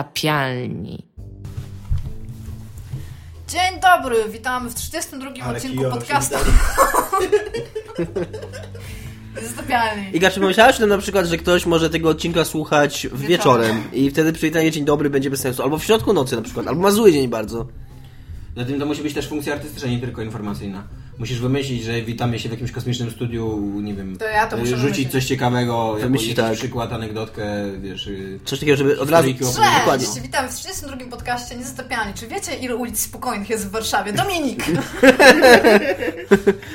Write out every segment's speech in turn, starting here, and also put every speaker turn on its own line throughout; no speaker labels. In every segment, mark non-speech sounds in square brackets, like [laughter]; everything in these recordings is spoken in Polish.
Niezatapialni.
Dzień dobry, witamy w 32
Ale
odcinku
kijowo się
podcastu. [laughs] Zdobialni.
Iga, czy pomyślałeś o tym na przykład, że ktoś może tego odcinka słuchać w
Wieczorem.
wieczorem i wtedy przywitanie dzień dobry będzie bez sensu, albo w środku nocy na przykład, albo ma zły dzień bardzo.
Na tym to musi być też funkcja artystyczna, nie tylko informacyjna. Musisz wymyślić, że witamy się w jakimś kosmicznym studiu, nie wiem,
To ja to muszę
y, rzucić
wymyślić.
coś ciekawego, jakiś
Wymyślić, tak.
przykład, anegdotkę, wiesz... y,
Coś takiego, żeby od razu...
Historyjki o-
Dokładnie.
Cześć, witamy w 32 podcaście Niezatapialni. Czy wiecie, ile ulic spokojnych jest w Warszawie? Dominik!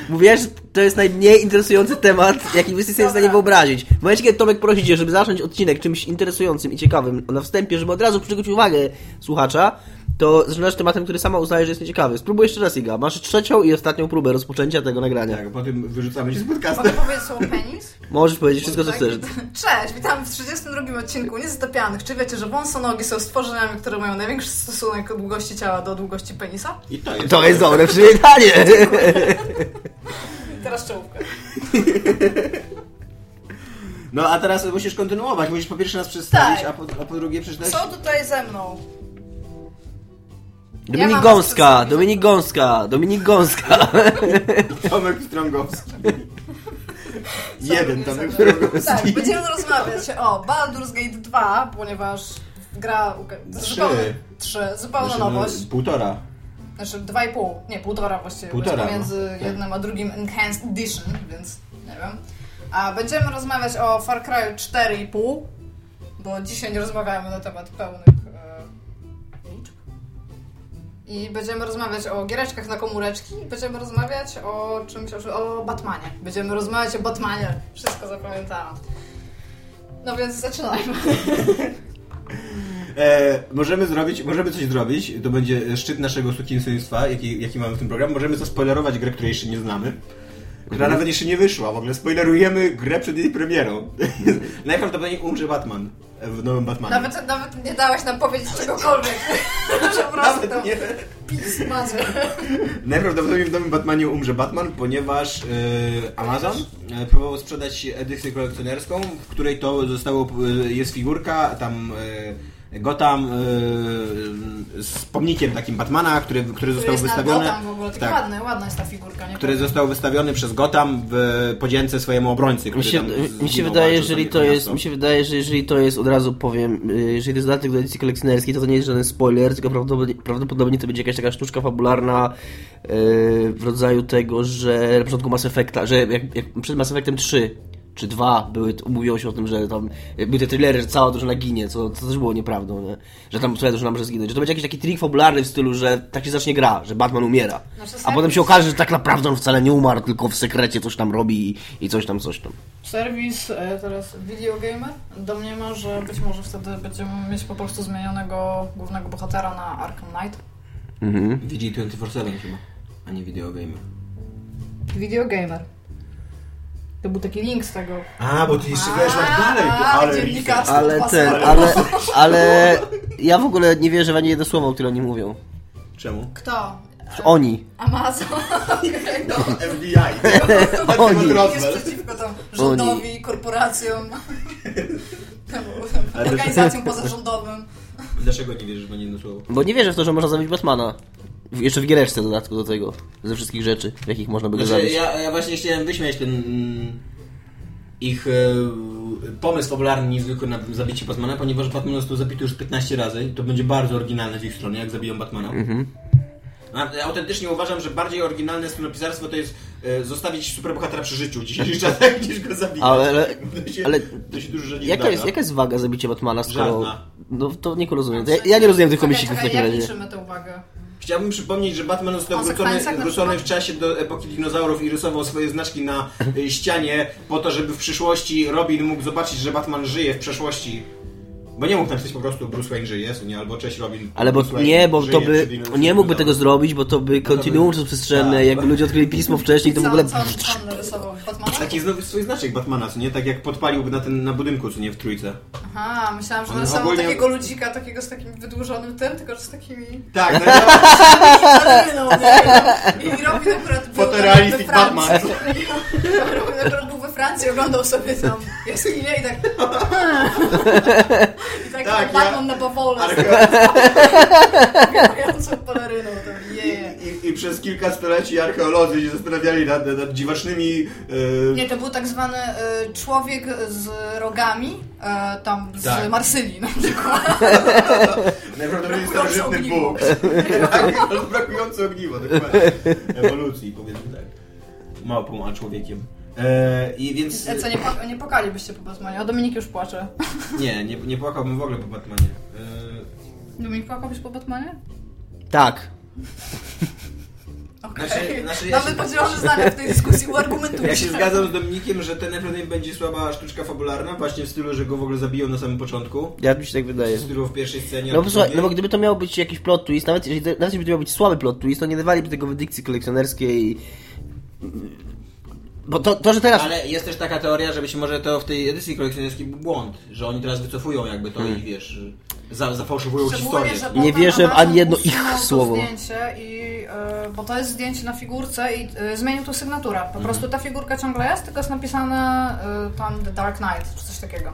Mówiłaś, że to jest najmniej interesujący temat, jaki wy sobie jesteście w stanie
Dobra.
wyobrazić. W momencie, kiedy Tomek prosi cię, żeby zacząć odcinek czymś interesującym i ciekawym na wstępie, żeby od razu przykuć uwagę słuchacza, to zaczynasz tematem, który sama uznaje, że jest nieciekawy. Spróbuj jeszcze raz, Iga. Masz trzecią i ostatnią próbę rozpoczęcia tego nagrania.
Tak, po tym wyrzucamy się z
[laughs]
podcastu.
Mogę powiedzieć słowo penis?
Możesz powiedzieć wszystko, co
Tak?
chcesz.
Cześć, witamy w 32 odcinku Niezatapialnych. Czy wiecie, że wąsonogi są stworzeniami, które mają największy stosunek długości ciała do długości penisa?
I to jest...
To jest dobre przywitanie!
I teraz czołówkę.
No a teraz musisz kontynuować, musisz po pierwsze nas przedstawić,
Tak.
a, po, a po drugie przeczytać...
Są tutaj ze mną Ja
Dominik
mam
Gąska,
was
Dominik Gąska, Dominik Gąska.
Tomek
[laughs]
Strągowski. Jeden Tomek
Tak,
Strągowski.
będziemy rozmawiać o Baldur's Gate 2, ponieważ gra uka-
Trzy.
zupełnie- Trzy, zupełna
Znaczy, no,
nowość.
Półtora.
Znaczy dwa i pół, nie, półtora właściwie.
Półtora,
Półtora, między
no, tak.
jednym a drugim Enhanced Edition, więc nie wiem. A będziemy rozmawiać o Far Cry 4,5, bo dzisiaj nie rozmawiamy na temat pełnych e, liczb. I będziemy rozmawiać o giereczkach na komóreczki i będziemy rozmawiać o czymś, o, o Batmanie. Będziemy rozmawiać o Batmanie. Wszystko zapamiętałam. No więc zaczynajmy.
E, możemy zrobić, możemy coś zrobić, to będzie szczyt naszego sukinsyństwa, jaki, jaki mamy w tym programie. Możemy zaspoilerować grę, której jeszcze nie znamy. Która nawet jeszcze nie wyszła, w ogóle spoilerujemy grę przed jej premierą. [laughs] Najprawdopodobniej umrze Batman e, w nowym Batmanie.
Nawet, nawet nie dałaś nam powiedzieć czegokolwiek. [laughs] Przepraszam.
Nawet [laughs] nie.
Pismacie.
Najprawdopodobniej w nowym Batmanie umrze Batman, ponieważ e, Amazon e, próbował sprzedać edycję kolekcjonerską, w której to zostało, e, jest figurka, tam e, Gotham e, z pomnikiem takim Batmana, który, który
Tu
został
jest
wystawiony. tak,
na Gotham w ogóle,
Tak.
taki ładny, ładna jest ta figurka. Nie
który
powiem.
został wystawiony przez Gotham w podzięce swojemu obrońcy. Który
Mi się,
tam
mi się
zginął,
wydaje,
walczył
jeżeli
tam
to jest,
miasto.
mi się wydaje, że jeżeli to jest, od razu powiem, y, jeżeli to jest dodatek do edycji kolekcjonerskiej, to to nie jest żaden spoiler, tylko prawdopodobnie, prawdopodobnie to będzie jakaś taka sztuczka fabularna y, w rodzaju tego, że na początku Mass Effecta, że jak, jak przed Mass Effectem 3 czy 2 były, mówiło się o tym, że tam y, były te thrillery, że cała drużyna ginie, co, co też było nieprawdą, nie? że tam cała drużyna może zginąć, że to będzie jakiś taki trik fabularny w stylu, że tak się zacznie gra, że Batman umiera,
Znaczy,
a
sam-
potem się okaże, że tak naprawdę on wcale nie umarł, tylko w sekrecie coś tam robi i, i coś tam, coś tam.
Serwis e, teraz Video Gamer domniema, że być może wtedy będziemy mieć po prostu zmienionego głównego bohatera na Arkham Knight.
Mhm.
VG247 chyba, a nie videogame.
Video Gamer. To był taki link z tego.
A, bo ty jeszcze wiesz,
A,
jak dalej, ty, ale...
dziennikarz.
Ale ten, ale, ale ja w ogóle nie wierzę w ani jedno słowo, które oni mówią.
Czemu?
Kto?
Oni.
Amazon. [laughs] Okej, no.
FBI. [laughs]
[laughs] Oni.
Jest przeciwko tam rządowi, korporacjom, temu, organizacjom pozarządowym.
Dlaczego nie wierzysz w ani jedno słowo?
Bo nie wierzę w to, że można zabić Batmana. W- Jeszcze w giereczce w dodatku do tego. Ze wszystkich rzeczy, w jakich można by go
Znaczy,
zabić.
ja, ja właśnie chciałem wyśmiać ten mm, ich e, pomysł fabularny niezwykły na zabicie Batmana, ponieważ Batman został zabity już 15 razy i to będzie bardzo oryginalne z ich strony, jak zabiją Batmana.
Mhm.
A, ja autentycznie uważam, że bardziej oryginalne scenopisarstwo to jest e, zostawić superbohatera przy życiu w dzisiejszych [laughs] czasach, niż go zabijać.
Ale- ale-
to się,
ale-
to się dużo nie
Jaka
zdarza.
jest, jaka jest waga zabicia Batmana, skoro...
Żadna.
No to nie rozumiem. To Ja, ja nie rozumiem tych
Czekaj,
komisików w
Znaczy, czekaj,
takim
jak
razie.
liczymy tę uwagę?
Chciałbym przypomnieć, że Batman został
Konsekwencjach
wrócony,
na przykład?
wrócony w czasie do epoki dinozaurów i rysował swoje znaczki na y, ścianie po to, żeby w przyszłości Robin mógł zobaczyć, że Batman żyje w przeszłości. Bo nie mógł napisać po prostu Bruce Wayne żyje, co nie, albo cześć Robin.
Ale bo
Bruce Wayne
nie, bo
żyje
to
przy
by...
dinozaurach.
Nie mógłby tego zrobić, bo to by kontinuum przestrzenne,
Tak.
jakby ludzie odkryli pismo wcześniej, to w
Co-
ogóle...
Co on- on narysował? Batmana?
Taki znowu swój znaczek Batmana, co nie? Tak jak podpaliłby na, ten, na budynku, co nie, w trójce.
Aha, myślałam, że
On
narysował
ogólnie-
takiego ludzika, takiego z takim wydłużonym tym, tylko że z
[laughs]
takimi...
Tak, [laughs]
Zaliną,
no,
nie? I Robin akurat był
Photorealistic
we Francji.
Batman.
[laughs] Robin akurat był we Francji oglądał sobie tam jaskinię i tak...
[laughs]
I tak,
Tak,
tak Batman
ja-
na bawole z
Arche-
biegającą peleryną. Tam, yeah.
I, I przez kilka stuleci archeolodzy się zastanawiali nad, nad dziwacznymi... e,
Nie, to był tak zwany e, człowiek z rogami, e, tam z
Tak.
Marsylii na przykład.
Najprawdopodobniej
Brakujące
starożytny
ogniwo.
bóg. Tak, brakujące ogniwo, dokładnie. Ewolucji, powiedzmy tak. Małpą, a człowiekiem. E, I więc...
E, Co, nie, płak- nie płakalibyście po Batmanie? O, Dominik już płacze.
Nie, nie, nie płakałbym w ogóle po Batmanie.
Dominik, płakałbyś po Batmanie?
Tak.
Okej.
Znaczy- znaczy ja
Mamy
się-
podzielone zdania w tej dyskusji,
E,
uargumentujcie.
ja się zgadzam z Dominikiem, że ten najprawdopodobniej będzie słaba sztuczka fabularna, właśnie w stylu, że go w ogóle zabiją na samym początku.
Ja mi się tak wydaje.
W stylu w pierwszej scenie.
No
a
bo,
w
słuchaj, no
drugiej.
bo gdyby to miał być jakiś plot twist, nawet jeżeli, nawet jeżeli to miał być słaby plot twist, to nie dawaliby tego w dykcji kolekcjonerskiej. Bo to, to że teraz...
Ale jest też taka teoria, że być może to w tej edycji kolekcjonerskiej był błąd, że oni teraz wycofują jakby to
Hmm.
i wiesz, za, zafałszowują
Szczególnie,
historię.
że
Nie
Batman
wierzę w
Amazon
ani jedno
usunął
ich
to
słowo.
Zdjęcie i, e, bo to jest zdjęcie na figurce i e, zmienił tu sygnaturę. Po
Mhm.
prostu ta figurka ciągle jest, tylko jest napisane e, tam The Dark Knight czy coś takiego.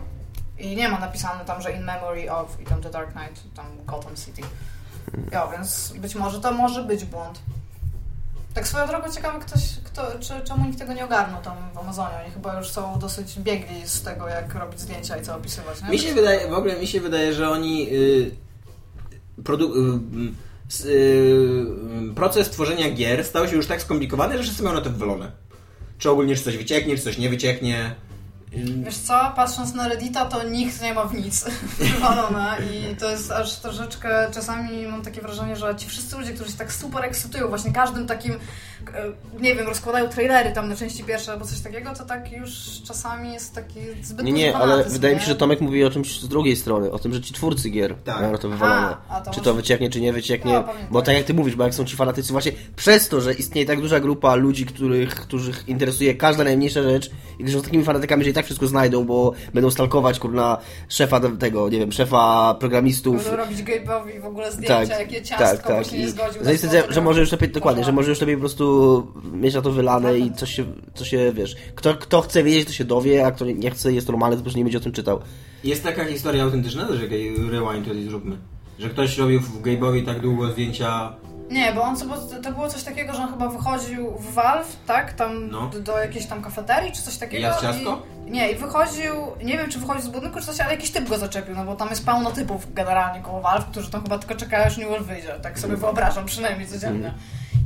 I nie ma napisane tam, że in memory of i tam The Dark Knight, tam Gotham City. Jo, więc być może to może być błąd. Tak swoją drogą ciekawe, ktoś, kto, czy, czemu nikt tego nie ogarnął tam w Amazonie. Oni chyba już są dosyć biegli z tego, jak robić zdjęcia i co opisywać, nie?
Mi się wydaje, w ogóle mi się wydaje, że oni y, produ- y, mm, s- y, mm, proces tworzenia gier stał się już tak skomplikowany, że wszyscy mają na to wywalone. Czy ogólnie czy coś wycieknie, czy coś nie wycieknie. Y,
Wiesz co, patrząc na Reddita, to nikt nie ma w nic [laughs] wywalone i to jest aż troszeczkę, czasami mam takie wrażenie, że ci wszyscy ludzie, którzy się tak super ekscytują właśnie każdym takim, e, nie wiem, rozkładają trailery tam na części pierwsze albo coś takiego, to tak już czasami jest taki zbyt
Nie,
duży
nie, ale
fanatyzm,
wydaje mi się,
nie?
że Tomek mówi o czymś z drugiej strony, o tym, że ci twórcy gier
Tak.
mają na to wywalone.
A, a to
czy to
może-
wycieknie, czy nie wycieknie.
No, pamiętam.
bo tak jak ty mówisz, bo jak są ci fanatycy, właśnie przez to, że istnieje tak duża grupa ludzi, których, których interesuje każda najmniejsza rzecz i którzy są takimi fanatykami, że i tak wszystko znajdą, bo będą stalkować, kurna, szefa do- tego, nie wiem, szefa programistów.
Będą robić Gabe'owi w ogóle zdjęcia, jakie ciastko, tak, bo się
No I
nie zgodził.
zaiste-
na
że może już lepiej, dokładnie, że
Można.
może już lepiej po prostu mieć na to wylane i coś się, co się wiesz. Kto, kto chce wiedzieć, to się dowie, a kto nie- nie chce, jest normalny, to po prostu nie będzie o tym czytał.
Jest taka historia autentyczna, że gej- rewind tutaj zróbmy. Że ktoś robił w Gabe'owi tak długo zdjęcia.
Nie, bo on co- bo to było coś takiego, że on chyba wychodził w Valve, tak? Tam
No.
do, do jakiejś tam kafeterii czy coś takiego.
Jadł ciastko?
I, nie, i wychodził, nie wiem czy wychodził z budynku czy coś, ale jakiś typ go zaczepił, no bo tam jest pełno typów generalnie koło Valve, którzy tam chyba tylko czekają, aż New World wyjdzie. Tak
Mhm.
sobie wyobrażam, przynajmniej codziennie.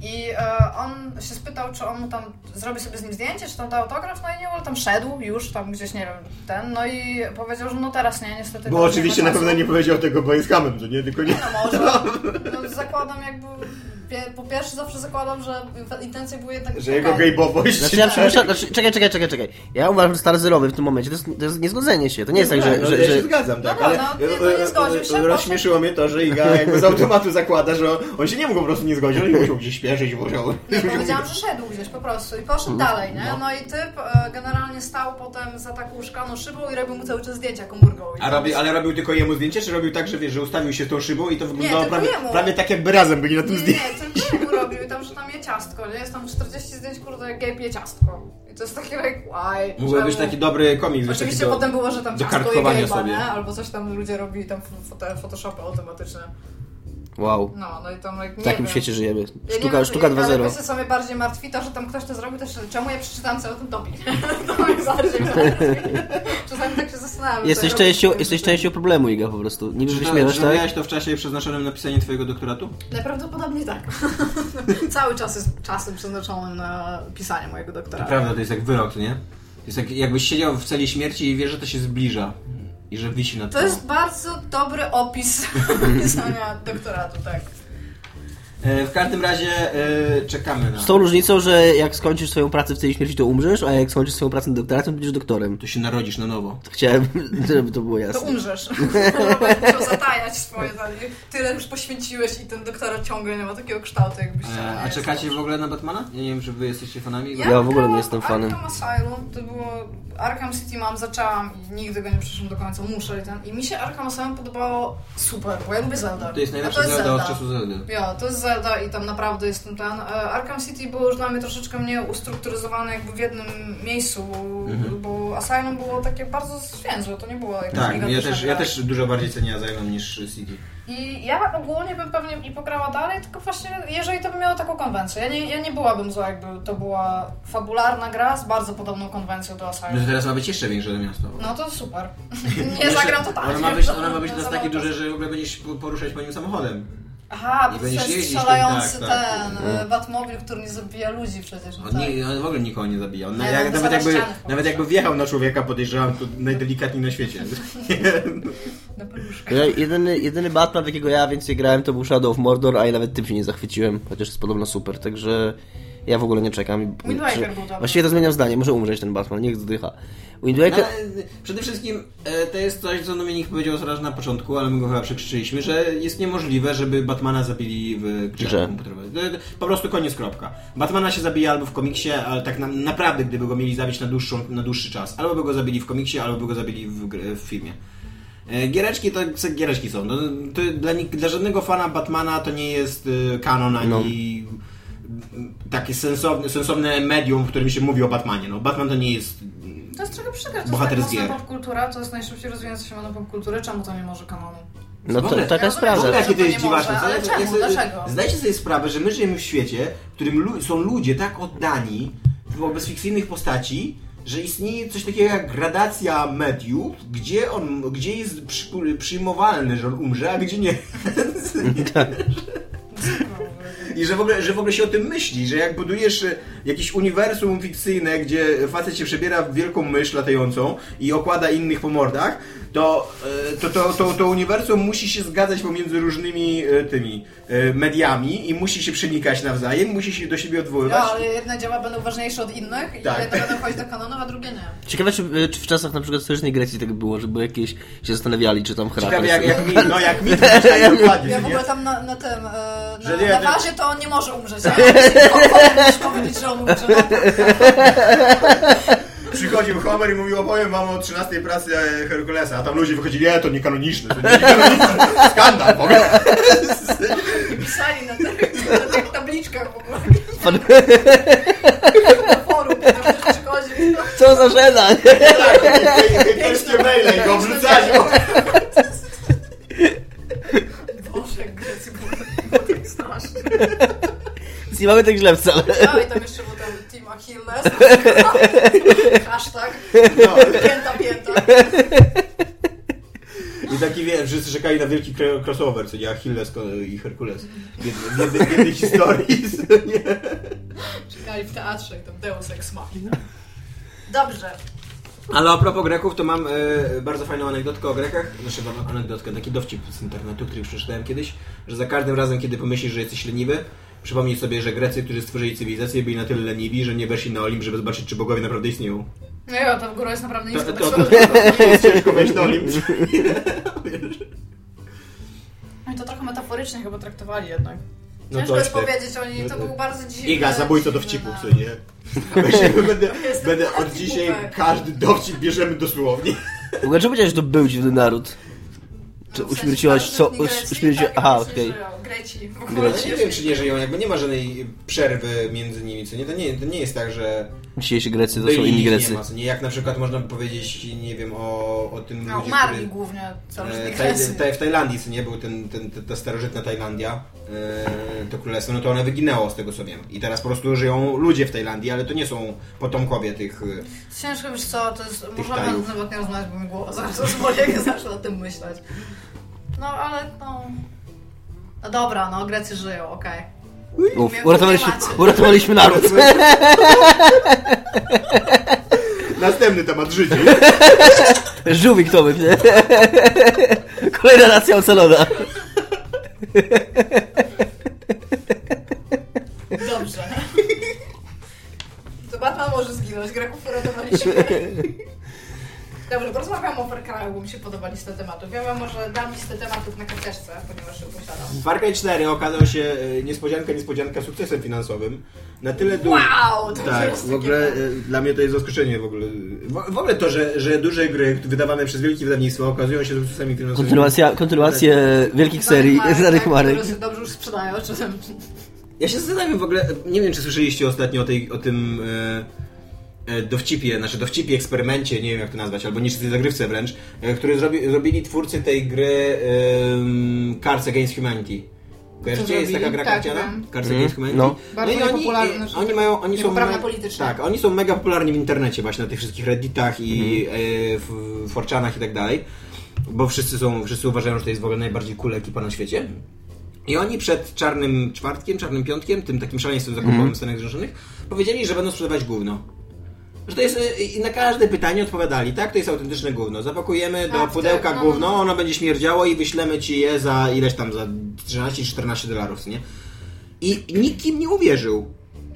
I e, on się spytał, czy on mu tam zrobi sobie z nim zdjęcie, czy tam da autograf, no i New World tam szedł już, tam gdzieś, nie wiem, ten, no i powiedział, że no teraz nie, niestety. teraz
Bo
nie ma
oczywiście na
czasu.
pewno nie powiedział tego, bo jest hamem, to nie, tylko nie.
No może. No, zakładam jakby... pie- Po pierwsze zawsze zakładam, że intencje były jednak...
Że jego
okej.
gejbowość...
Znaczy ja
[laughs]
przypuszczam, znaczy, czekaj, czekaj, czekaj, czekaj. Ja uważam, że stary zerowy w tym momencie to jest, to jest niezgodzenie się. To nie jest tak, że...
no,
że,
ja
że
się zgadzam, tak,
No,
ale
no, nie, no, nie zgodził się, bo-
rozśmieszyło mnie to, że
[laughs]
Iga jakby z automatu zakłada, że on się nie mógł po prostu nie zgodzić, on musiał gdzieś śpieszyć, musiał...
Nie, no, powiedziałam, że szedł gdzieś po prostu i poszedł
Mhm.
dalej, nie? No i typ e, generalnie stał potem za tak taką szklaną szybą i robił mu cały czas zdjęcia komórkowe.
A robi, ale robił tylko jemu zdjęcie, czy robił tak, że wiesz, że ustawił się z tą szybą i to wyglądało
tylko
prawie,
jemu.
prawie tak jakby razem.
Razem byli na
Nie,
tym
nie,
zdjęciu.
ten mu robił i tam, że tam je ciastko, nie? Jest tam 40 zdjęć, kurde, jak Gabe je ciastko. I to jest takie, like, why?
Mógłby
Czemu?
być taki dobry komiks. wiesz, taki
Oczywiście
do-
potem było, że tam
do
ciastko i
kartkowania
Gabe'a,
sobie.
nie? Albo coś tam ludzie robili, tam foto, photoshopy automatyczne.
Wow,
No, no i tam, like, nie
w takim
wiem.
świecie żyjemy.
Ja nie
Sztuka,
wiem,
sztuka
Ale
2.0.
właśnie są mnie bardziej martwi to, że tam ktoś to zrobił, też czemu ja przeczytałam cały ten topik. [laughs] to mnie
[laughs]
bardziej martwi. Czasami tak się zastanawiam. co
Jesteś
ja
częścią,
robię.
jesteś częścią problemu, Iga, po prostu. Niby
Czy to-
wyśmiewasz,
czy
tak?
miałeś to w czasie przeznaczonym na pisanie twojego doktoratu?
Najprawdopodobniej tak. [laughs] cały czas jest czasem przeznaczonym na pisanie mojego doktora.
Tak. Prawda, to jest jak wyrok, nie? To jest jak, jakbyś siedział w celi śmierci i wiesz, że to się zbliża. I że wisi nad
To
tobą.
jest bardzo dobry opis [laughs] pisania doktoratu, tak.
E, w każdym razie e, czekamy na...
Z tą różnicą, że jak skończysz swoją pracę w tej śmierci, to umrzesz, a jak skończysz swoją pracę na doktoratem, to będziesz doktorem.
To się narodzisz na nowo.
Chciałem, [laughs] żeby to było
To
jasne. [laughs]
umrzesz. Będziesz musiał zatajać swoje zdanie. Tyle już poświęciłeś i ten doktorat ciągle nie ma takiego kształtu, jakbyś chciał.
E, a czekacie w ogóle na Batmana? Ja nie wiem, czy wy jesteście fanami.
Ja w ogóle nie jestem fanem.
Arkham Asylum to było Arkham City mam, zaczęłam i nigdy go nie przeszłam do końca, muszę i ten. I mi się Arkham Asylum podobało super, bo ja lubię Zelda.
To jest najlepsza
A No to jest
Zelda od czasu Zelda.
Ja, to jest Zelda i tam naprawdę jestem ten. E, Arkham City było już dla mnie troszeczkę mniej ustrukturyzowane jakby w jednym miejscu, bo Asylum było takie bardzo zwięzłe, to nie było jakieś
Mhm. Tak, ja
gigantyczne
też, ja
gra.
też dużo bardziej cenię Asylum niż City.
I ja ogólnie bym pewnie i pograła dalej, tylko właśnie jeżeli to by miało taką konwencję. Ja nie, ja nie byłabym zła, jakby to była fabularna gra z bardzo podobną konwencją do
No to
Asylum.
teraz ma być jeszcze większe to miasto.
No to
[laughs]
super. Nie
Jeszcze-
zagram totalnie.
Ona ma być, ona ma
Zagram
być teraz
za
takie
mało
duże, że w ogóle będziesz po- poruszać po nim samochodem.
Aha,
I
bo to
będziesz
jest
jeździć,
strzelający
tak, tak.
ten e, Batmobil, który nie zabija ludzi przecież. No
On,
tak.
nie, on w ogóle nikogo nie zabija. On,
Nie,
na-
no
jak,
to
nawet,
za
jakby,
ścianę po
nawet
prostu.
jakby wjechał na człowieka, podejrzewam, to najdelikatniej na świecie.
Na peluszkę.
Ja, jedyny, jedyny Batman, w jakiego ja więcej grałem, to był Shadow of Mordor, a i nawet tym się nie zachwyciłem, chociaż jest podobno super, także ja w ogóle nie czekam.
Wind Waker
Że-
był dobry.
Właściwie to zmieniam zdanie, może umrzeć ten Batman, niech zdycha. Wind Waker...
No, ale przede wszystkim e, to jest coś, co Dominik powiedział zaraz na początku, ale my go chyba przekrzyczyliśmy, że jest niemożliwe, żeby Batmana zabili w grze
Grze.
komputerowej. To- to Po prostu koniec, kropka. Batmana się zabija albo w komiksie, ale tak na, naprawdę, gdyby go mieli zabić na, dłuższą, na dłuższy czas. Albo by go zabili w komiksie, albo by go zabili w, gr- w filmie. E, Giereczki to se- giereczki są. No, to dla, nik- dla żadnego fana Batmana to nie jest y, kanon ani takie sensowne, sensowne medium, w którym się mówi o Batmanie. No, Batman to nie jest
To jest trochę przykre, to
Bohater
jest
z
tak
gier.
mocna popkultura, to jest najszybciej rozwijająca się popkultury, czemu to nie może kanonu?
No
w
to
ogóle-
taka jest
Ja rozumiem,
prawda.
że-
Jakie to
to
jest
nie
dziwaczne.
może, ale
Zdajcie-
czemu?
jest-
Dlaczego?
Zdajcie sobie sprawę, że my żyjemy w świecie, w którym lu są ludzie tak oddani wobec fikcyjnych postaci, że istnieje coś takiego jak gradacja mediów, gdzie on, gdzie jest przy, przyjmowalne, że on umrze, a gdzie nie. I że w, ogóle, że w ogóle się o tym myśli, że jak budujesz e, jakieś uniwersum fikcyjne, gdzie facet się przebiera w wielką mysz latającą i okłada innych po mordach, to e, to, to, to, to uniwersum musi się zgadzać pomiędzy różnymi e, tymi e, mediami i musi się przenikać nawzajem, musi się do siebie
No,
odwoływać.
ale jedne dzieła będą ważniejsze od innych i
Tak.
jedne będą chodzić do kanonu, a drugie nie.
Ciekawe, czy, czy w czasach na przykład starożytnej Grecji tak było, żeby jakieś się zastanawiali, czy tam hrakar...
Ciekawe jak,
sobie-
jak mi, no jak mi, tak dokładnie,
Ja
nie?
w ogóle tam na, na tym, e,
Że
na,
nie,
na
nie.
wazie to on nie może umrzeć. ale Musisz powiedzieć, że on umrze. No,
Przychodził Homer i mówił, opowiem wam o 13 pracy e, Herkulesa, a tam ludzie wychodzili, nie, to niekanoniczne, to niekanoniczne, skandal, w ogóle.
pisali na tych, na tych tabliczkach w ogóle. Na forum, ktoś przychodzi.
Co za żena! [laughs]
Piękne maile i go obrzucali.
Boże, jak Grecy było tak strasznie.
Nie mamy tak źle wcale.
No i tam jeszcze był ten Team Achilles. [laughs] Hashtag.
No.
Pięta, pięta.
I taki wiem, wszyscy czekali na wielki kre- crossover, co nie Achilles ko- i Herkules. W jednej- W jednej-
[laughs]
w jednej historii. [laughs] co nie?
Czekali w teatrze, jak tam Deus Ex Machina. Dobrze.
Ale a propos Greków, to mam e, bardzo fajną anegdotkę o Grekach. Znaczy mam anegdotkę, taki dowcip z internetu, który przeczytałem kiedyś, że za każdym razem, kiedy pomyślisz, że jesteś leniwy, przypomnij sobie, że Grecy, którzy stworzyli cywilizację, byli na tyle leniwi, że nie weszli na Olimp, żeby zobaczyć, czy bogowie naprawdę istnieją.
No ja tam góra jest naprawdę
To, to,
nisko.
to,
tak
to, to jest [laughs] ciężko wejść na Olimp.
No i to trochę metaforycznie chyba traktowali jednak.
No
Ciężko
coś
jest
ty.
powiedzieć, oni to był bardzo dziwny.
Iga, zabójca
dziwny
dowcipu,
na-
co
[laughs]
nie? Będę,
Jestem
będę od
taki
dzisiaj
bubek.
każdy dowcip bierzemy dosłownie.
W ogóle czemu powiedziałeś, że to był dziwny naród? Czy
No, w sensie
uśmierciłaś co?
starożytni Grecy,
Uśmierciłaś...
tak,
Aha,
już nie
okej.
żyją. Greci. w ogóle.
Greci. Nie wiem, czy nie żyją, jakby nie ma żadnej przerwy między nimi, co nie? To nie, to nie jest tak, że
Dzisiejsi Grecy to
byli
są
i
inni
ich
Grecy.
nie ma, co nie? Jak na przykład można by powiedzieć, nie wiem, o, o tym
No,
ludzie,
umarli
który-
głównie
E, tak.
starożytni
Taj-
Grecy.
taj- w Tajlandii, co nie, był ten, ten, ta- ta starożytna Tajlandia, e, to królestwo, no to one wyginęło z tego, co wiem. I teraz po prostu żyją ludzie w Tajlandii, ale to nie są potomkowie tych... e,
Ciężko wiesz co, to jest, można
tajów.
nawet nawet nie rozmawiać, bo mi głowa zaraz boli, [laughs] jak ja zacznę o tym myśleć. No ale no... No dobra, no Grecy żyją, okej.
Uf,
Mówię,
uratowaliśmy,
nie macie.
uratowaliśmy naród.
Następny temat życia.
Żółwik to był, nie? [laughs] Kolejna racja ocalona.
Dobrze.
[laughs]
To Batman może zginąć, Greków uratowaliśmy. Dobrze, porozmawiam mam o Far Cry'u, bo mi się podoba lista tematów. Ja mam może dam listę tematów na karteczce, ponieważ ją posiadam.
Far Cry 4 okazał się e, niespodzianka, niespodzianka sukcesem finansowym. Na tyle du-
Wow! To
Tak,
jest
w ogóle
takie-
e, dla mnie to jest zaskoczenie w ogóle. W, w ogóle to, że, że duże gry wydawane przez wielkie wydawnictwo okazują się sukcesami finansowymi.
Kontynuacja, kontynuacje wielkich serii,
[laughs]
znanych
tak,
marek.
Które się dobrze już sprzedają czasem.
Ja się zastanawiam w ogóle, nie wiem czy słyszeliście ostatnio o, tej, o tym e, e, dowcipie, znaczy dowcipie, eksperymencie, nie wiem jak to nazwać, albo niczym zagrywce wręcz, e, który zrobi, zrobili twórcy tej gry em, Cards Against Humanity. Kojarzycie? Jest
zrobili?
taka gra
Tak,
karciana?
wiem.
Cards Against Humanity?
No.
Bardzo
i oni,
niepopularne,
e,
że
oni
tak
mają, oni są...
niepoprawne
me-
politycznie.
Tak, oni są mega popularni w internecie właśnie, na tych wszystkich redditach i e, w forczanach i tak dalej. Bo wszyscy są, wszyscy uważają, że to jest w ogóle najbardziej cool ekipa na świecie. I oni przed czarnym czwartkiem, czarnym piątkiem, tym takim szaleństwem zakupowym w Stanach Zjednoczonych, powiedzieli, że będą sprzedawać gówno. Że to jest, y, i na każde pytanie odpowiadali, tak, to jest autentyczne gówno. Zapakujemy do
Tak,
pudełka
tak, no,
gówno,
no.
ono będzie śmierdziało i wyślemy ci je za ileś tam, za 13-14 dolarów, co nie? I nikt im nie uwierzył.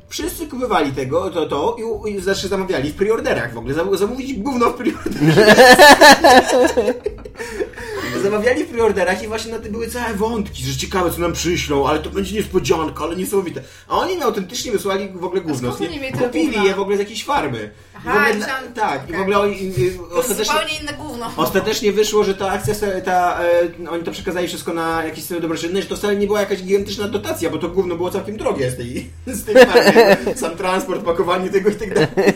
Wszyscy kupywali tego, to, to i, u- i zawsze zamawiali w preorderach w ogóle. Zam- Zamówić gówno w preorderach. [laughs] Zamawiali w preorderach i właśnie na tym były całe wątki, że ciekawe co nam przyślą, ale to będzie niespodzianka, ale niesamowite. A oni na autentycznie wysłali w ogóle gówno.
skąd
nie?
oni mieli tyle
Kupili
gówna?
je w ogóle z jakiejś farmy. I
Aha,
w ogóle,
myślałam-
tak, i w
okej.
ogóle oni, i- i-
To jest
ostatecznie...
zupełnie inne gówno.
Ostatecznie wyszło, że ta akcja, se- ta, e, oni to przekazali wszystko na jakieś cele dobroczynne, że to wcale nie była jakaś gigantyczna dotacja, bo to gówno było całkiem drogie z tej, z tej partii. Sam transport, pakowanie tego i tak dalej.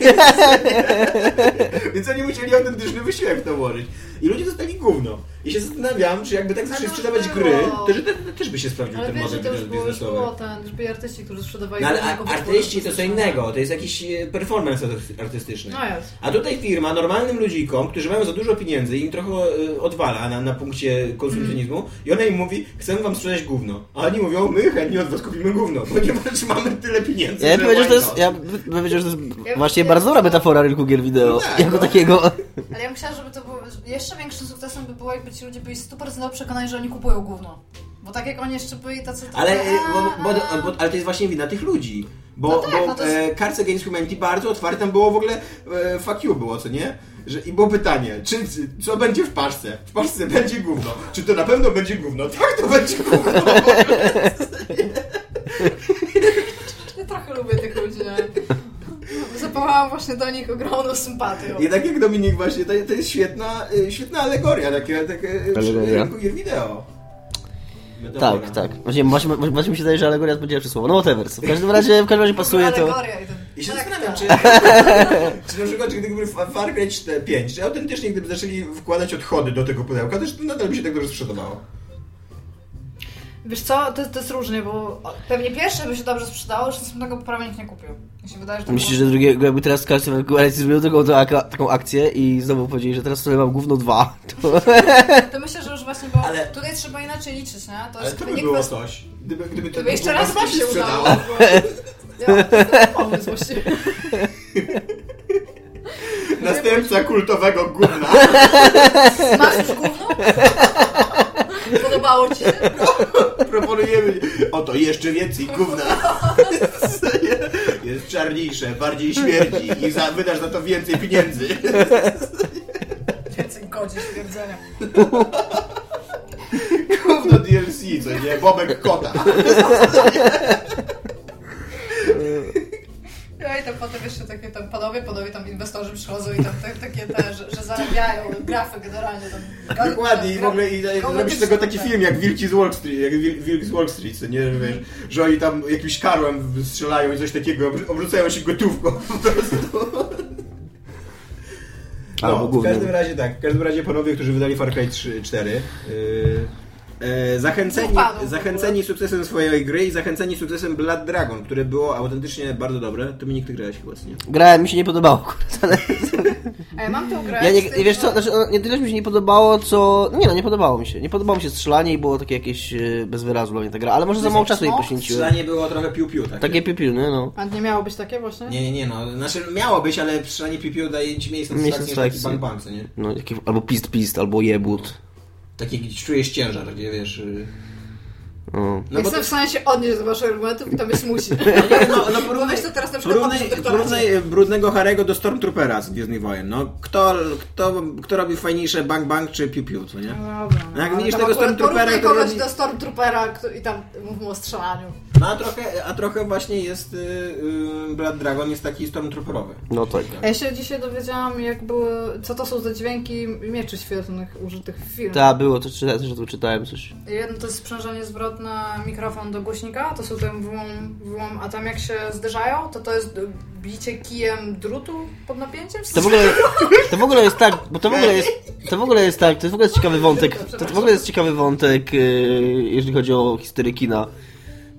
Więc oni musieli autentyczny wysiłek w to włożyć. I ludzie dostali gówno. I się zastanawiam, czy jakby tak zaczęli
Ale to
sprzedawać
było.
gry, to że te, te, też by się sprawdził
Ale
ten
wiesz, że
model
to już było, już
biznesowy.
było ten, że byli artyści, którzy sprzedawali...
No ale
jednego
a-
produktu,
artyści to co
sprzedawali-
innego, to jest jakiś e, performance arty- artystyczny.
No jest.
A tutaj firma normalnym ludzikom, którzy mają za dużo pieniędzy, im trochę e, odwala na, na punkcie konsumpcjonizmu i ona im mówi, chcemy wam sprzedać gówno. A oni mówią, my chętnie od was kupimy gówno, [laughs] ponieważ mamy tyle pieniędzy,
Ja bym powiedział, że to
why
jest,
not?
ja bym powiedział, że to
Ja
jest właśnie
bym-
bardzo dobra metafora rynku gier wideo.
No tak,
jako
no.
takiego.
Ale ja myślałam, żeby to było... Jeszcze większym sukcesem by było, jakby ci ludzie byli 100% przekonani, że oni kupują gówno. Bo tak jak oni jeszcze byli tacy...
Ale, e, bo, bo, bo, ale to jest właśnie wina tych ludzi. Bo,
No tak,
bo
no to jest-
e, Cards Against Humanity bardzo otwarte tam było w ogóle e, fuck you było, co nie? Że, I było pytanie, czy, co będzie w paczce? W paczce będzie gówno. Czy to na pewno będzie gówno? Tak, to będzie gówno. [laughs]
Ja trochę lubię tych ludzi, ale...
no. [laughs]
Zapałałam właśnie do nich ogromną sympatią.
I tak jak Dominik właśnie, to, to jest świetna, e, świetna alegoria, takie, takie e,
Alegoria.
y, rynku gier wideo. Metafora.
Tak, tak. Właśnie, właśnie, właśnie mi się wydaje, że alegoria odpowiedziała przez słowo. No whatever. W każdym razie, w każdym razie pasuje to.
Alegoria i ten...
I się
Tak,
zastanawiam,
tak.
[laughs]
czy, czy na przykład czy gdyby był Fa- Far Cry 4 5, czy autentycznie gdyby zaczęli wkładać odchody do tego pudełka, też to nadal by się tak dobrze sprzedawało.
Wiesz co, to, to jest różnie, bo...
Pewnie pierwsze by się dobrze sprzedało, że następnego prawie nikt nie kupił. Mi się wydaje, że to
Myślisz, że
było...
drugiego, jakby teraz każdy zrobił taką, taką- taką akcję i znowu powiedzieli, że teraz sobie mam gówno dwa. To...
To myślę, że już właśnie było...
Ale-
Tutaj trzeba inaczej liczyć, nie? To
Ale
jest
to by
nie
było
kwestia-
coś. Gdyby, gdyby to
Gdyby jeszcze
było
raz
coś
wam się
sprzedało.
udało. Bo... [laughs] Ja, to jest pomysł właściwie.
Następca kultowego gówna.
Masz już gówno? [laughs] Podobało ci się?
Proponujemy. Oto jeszcze więcej gówna. Jest czarniejsze, bardziej śmierdzi i za, wydasz na to więcej pieniędzy.
Więcej godzi stwierdzenia.
Gówno DLC, co nie? Bobek kota.
Ja No i tam potem jeszcze takie tam panowie, panowie tam inwestorzy przychodzą i tam te, takie te, że, że zarabiają grafy generalnie tam.
Dokładnie i w ogóle i, i
Gra-
robisz z tego taki film jak Wilki z Wall Street, jak Wil- Wilk z Wall Street, co nie wiesz, że oni tam jakimś karłem strzelają i coś takiego, obr- obrzucają się gotówką po prostu.
Albo
No, w
gównem.
każdym razie tak, w każdym razie panowie, którzy wydali Far Cry 3, 4, yy, e, zachęceni,
Upadł.
zachęceni sukcesem swojej gry i zachęceni sukcesem Blood Dragon, które było autentycznie bardzo dobre, to mi nikt grałeś chyba, co nie?
Grałem, mi się nie podobało. kurde, ale-
A ja mam tę grę.
Ja
z
nie,
tym,
wiesz co,
że-
znaczy, no, nie tyle mi się nie podobało, co... No nie no, nie podobało mi się. Nie podobało mi się strzelanie i było takie jakieś e, bez wyrazu dla mnie ta gra, ale może za mało czasu jej
smok?
poświęciłem.
Strzelanie było trochę piu-piu,
tak.
takie.
Takie pipiu, nie no.
A nie miało być takie właśnie?
Nie, nie, nie, no, znaczy miało być, ale strzelanie piu-piu daje ci mniej satysfakcji niż taki
satysfakcji.
bang-bang, co nie?
no jakie, albo pist pist, albo jebut.
Takie, gdzie czujesz ciężar, gdzie wiesz... y,
O.
No Jestem w stanie się odnieść do waszych argumentów i to być musi.
No, no
Bo
porównaj,
weź to teraz na przykład
porównaj,
porównaj,
porównaj brudnego Harego do Stormtroopera z Gwiezdnych Wojen. No, kto, kto, kto robi fajniejsze bang bang czy piu piu, co nie? No, jak widzisz tego Stormtroopera, to
kogoś
robi...
do Stormtroopera kto, i tam mówmy o strzelaniu.
No, a trochę, a trochę właśnie jest... Yy, yy, Blood Dragon jest taki Stormtrooperowy.
No tak.
Ja się dzisiaj dowiedziałam, jak były, co to są za dźwięki mieczy świetlnych użytych w filmie.
Ta, było, to czyta, też o tym czytałem coś.
Jedno to jest sprzężenie zwrotne mikrofon do głośnika, to są ten wyłom, wyłom, a tam jak się zderzają, to to jest bicie kijem drutu pod napięciem?
To w ogóle, to w ogóle jest tak, bo to w ogóle jest, to w ogóle jest tak, to w ogóle jest ciekawy wątek, to w ogóle jest ciekawy wątek, yy, jeżeli chodzi o historię kina.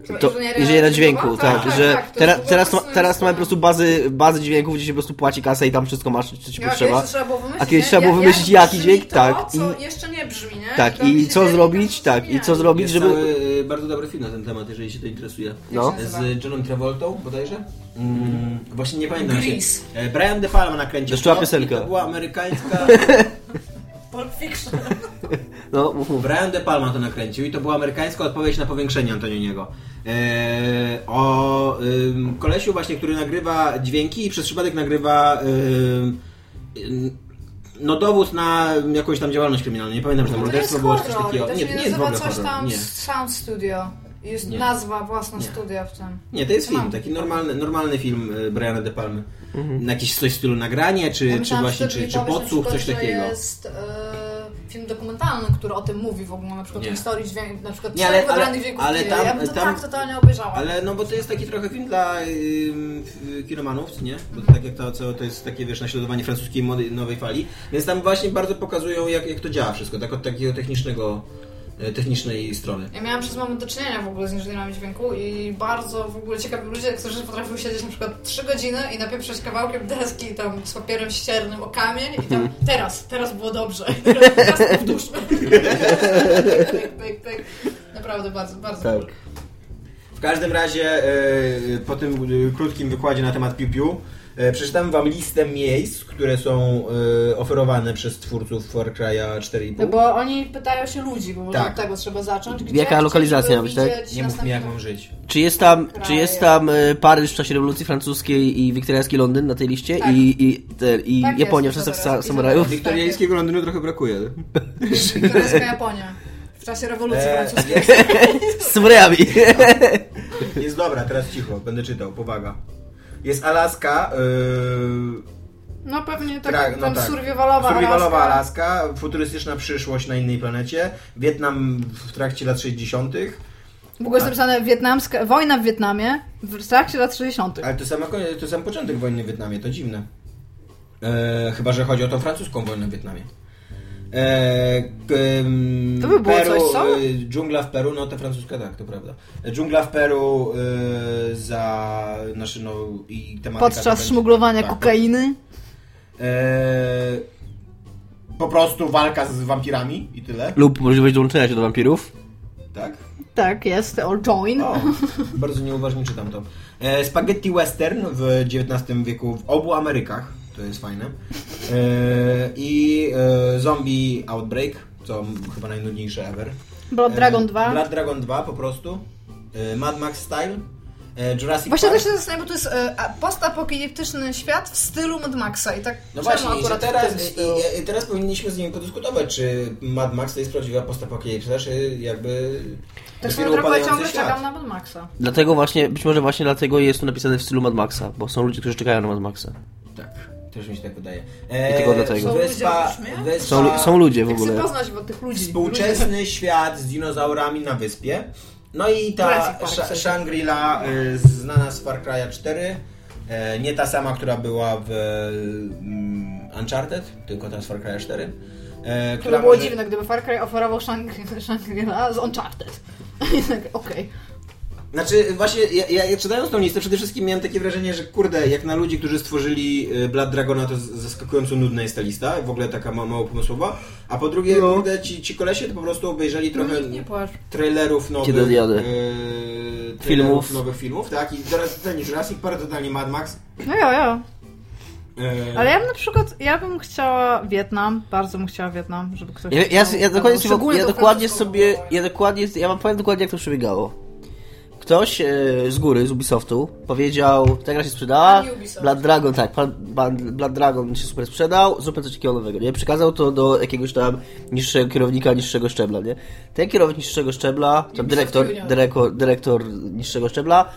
To,
Inżynieria
jeżeli na
dźwiękowa?
dźwięku,
Tak,
tak,
tak,
że
tak, to
teraz,
jest
teraz,
po
ma,
prostu
teraz
jest-
mamy po prostu bazy, bazy dźwięków, gdzie się po prostu płaci kasę i tam wszystko masz, co ci
Nie, No, a
potrzeba.
kiedyś trzeba było wymyślić,
A kiedyś
nie?
trzeba było
Jak-
wymyślić,
jak
jaki
brzmi
dźwięk,
to,
tak,
co
i-
jeszcze nie brzmi, nie?
Tak,
robi
i
się
co
wielkie
zrobić, tak, i
zmiany.
co zrobić,
Jest
żeby...
cały, yy, bardzo dobry film na ten temat, jeżeli się to interesuje.
No.
Z Johnem Travoltą bodajże? Mm, właśnie nie pamiętam
Grease.
się. E, Brian De Palma nakręcił.
Jeszcze była
to i
piosenka.
To była amerykańska...
Pulp Fiction.
No, mów, mów.
Brian De Palma to nakręcił i to była amerykańska odpowiedź na powiększenie Antoniniego. Eee, o ym, kolesiu właśnie, który nagrywa dźwięki i przez przypadek nagrywa ym, ym, no dowód na jakąś tam działalność kryminalną. Nie pamiętam, że tam
No to jest
morderstwo było czy coś
horror,
takiego.
to
Nie,
się
to nie jest w
nazywa
ogóle
coś
horror.
tam
Nie.
Sound Studio. Jest
Nie.
nazwa własna
Nie.
studia w tym.
nie, to jest
Co
film,
mam?
taki normalny, normalny film y, Briana De Palmy.
Mhm.
Jakiś coś w stylu nagranie, czy, czy
Myślałam, że
właśnie,
ty
czy,
mi
czy
powiesz na
podsłuch,
przykład,
coś
że
takiego.
jest e, film dokumentalny, który o tym mówi w ogóle, na przykład
Nie.
historii dźwięk, na przykład
Nie, ale-
trzech wybranych
ale-
wieków.
ale tam-
ja bym to
tam-
tak totalnie obejrzała.
Ale no bo to jest taki trochę film dla ym, f- kinomanów, co nie? Bo to tak jak to, co, to jest takie wiesz, naśladowanie francuskiej mody nowej fali. Więc tam właśnie bardzo pokazują jak, jak to działa wszystko, tak od takiego technicznego e, technicznej strony.
Ja miałam przez moment do czynienia w ogóle z inżynierami dźwięku i bardzo w ogóle ciekawi ludzie, którzy potrafią siedzieć na przykład 3 godziny i napieprzać kawałkiem deski tam z papierem ściernym o kamień i tam
Mhm.
teraz, teraz było dobrze. [laughs] Teraz
[laughs]
powtórzmy. pyk, pyk, pyk. Naprawdę bardzo, bardzo
Tak.
cool.
W każdym razie e, po tym e, krótkim wykładzie na temat Piu Piu e, przeczytam wam listę miejsc, które są e, oferowane przez twórców Far Cry'a 4,5.
No bo oni pytają się ludzi, bo może
Tak.
od tego trzeba zacząć. Gdzie
Jaka
chcesz,
lokalizacja
żeby
ma być, tak?
widzieć
Nie mów mi jak
następną-
mam żyć.
Czy jest tam,
Kraje.
czy jest tam e, Paryż w czasie rewolucji francuskiej i wiktoriański Londyn na tej liście
Tak.
i, i, te, i
Tak
Japonia
jest,
w czasach
to
sa-
teraz.
samurajów?
Wiktoriańskiego Londynu trochę brakuje.
Królewska Japonia. W czasie rewolucji
E,
francuskiej.
Z samurajami.
Jest dobra, teraz cicho, będę czytał, powaga. Jest Alaska, yy,
No pewnie tak,
tra-
tam
no tak.
survivalowa
survivalowa
Alaska.
Alaska. futurystyczna przyszłość na innej planecie, Wietnam w trakcie lat 60.,
W ogóle jest
tak.
napisane wietnamska, wojna w Wietnamie w trakcie lat 60.
ale to sam, to sam początek wojny w Wietnamie, to dziwne. E, chyba, że chodzi o tą francuską wojnę w Wietnamie. E, k- em,
To by było
Peru,
coś, co?
e, Dżungla w Peru, no ta francuska tak, to prawda. E, Dżungla w Peru e, za znaczy, no, i tematyka to
Podczas
będzie-
szmuglowania
tak,
kokainy.
Eee, po prostu walka z wampirami i tyle.
[laughs] Lub możliwość dołączenia się do wampirów.
Tak?
Tak, jest, all join.
O, bardzo nieuważnie czytam to. Eee, spaghetti western w XIX wieku w obu Amerykach. To jest fajne. Eee, I eee, zombie outbreak, co m- chyba najnudniejsze ever.
Blood
Eee,
Dragon 2.
Blood Dragon 2 po prostu. Eee, Mad Max style. Eee, Jurassic
Właśnie
Park.
też się zastanawiam, bo to jest e, a- postapokaliptyczny świat w stylu Mad Maxa i tak
No
czemu
właśnie, i że
akurat w tym
teraz, i,
stylu?
i- i teraz powinniśmy z nimi podyskutować, czy Mad Max to jest prawdziwa postapokalipsa, czy jakby...
Tak
dopiero
swoją drogą ja
upadający
ciągle
świat.
czekam na Mad Maxa.
Dlatego właśnie, być może właśnie dlatego jest to napisane w stylu Mad Maxa, bo są ludzie, którzy czekają na Mad Maxa.
Tak, też mi się tak wydaje. Eee,
tylko dlatego.
Są
Wyspa-
wyspa, wyspa,
Są, lu- są ludzie w
Jak chcę
ogóle.
poznać bo tych ludzi.
współczesny świat z dinozaurami na wyspie. No i ta
Jurassic Park,
Sha-
coś.
Shangri-La y, znana z Far Cry'a 4. e, Nie ta sama, która była w mm, Uncharted, tylko ta z Far Cry'a 4. e,
Które było
może-
dziwne, gdyby Far Cry oferował Shang- Shangri-La z Uncharted. [laughs] I tak, Okej.
Znaczy, właśnie, ja, ja, ja czytając tą listę, przede wszystkim miałem takie wrażenie, że kurde, jak na ludzi, którzy stworzyli y, Blood Dragona, to z- zaskakująco nudna jest ta lista, w ogóle taka ma, mało pomysłowa. A po drugie,
No.
kurde, ci, ci kolesie to po prostu obejrzeli trochę
Nie płacz.
trailerów nowych.
Kiedy jadę.
y, trailerów
Filmów.
Nowych filmów, tak? I teraz totalnie Jurassic Park, totalnie Mad Max.
No jo, jo.
E,
Ale ja bym na przykład, ja bym chciała Wietnam, bardzo bym chciała Wietnam, żeby ktoś...
Ja, ja, ja,
chciał-
dokładnie,
Albo
sobie, ja
szczególnie
dokładnie
to-
sobie, ja dokładnie, ja wam powiem dokładnie jak to przebiegało. Ktoś e, z góry, z Ubisoftu, powiedział, ta gra się sprzedała,
Pani Ubisoft.
Blood Dragon, tak, pan, pan, Blood Dragon się super sprzedał, zróbmy coś takiego nowego, nie? Przekazał to do jakiegoś tam niższego kierownika, niższego szczebla, nie? Ten kierownik niższego szczebla, tam dyrektor,
junior.
dyrektor, dyrektor niższego szczebla,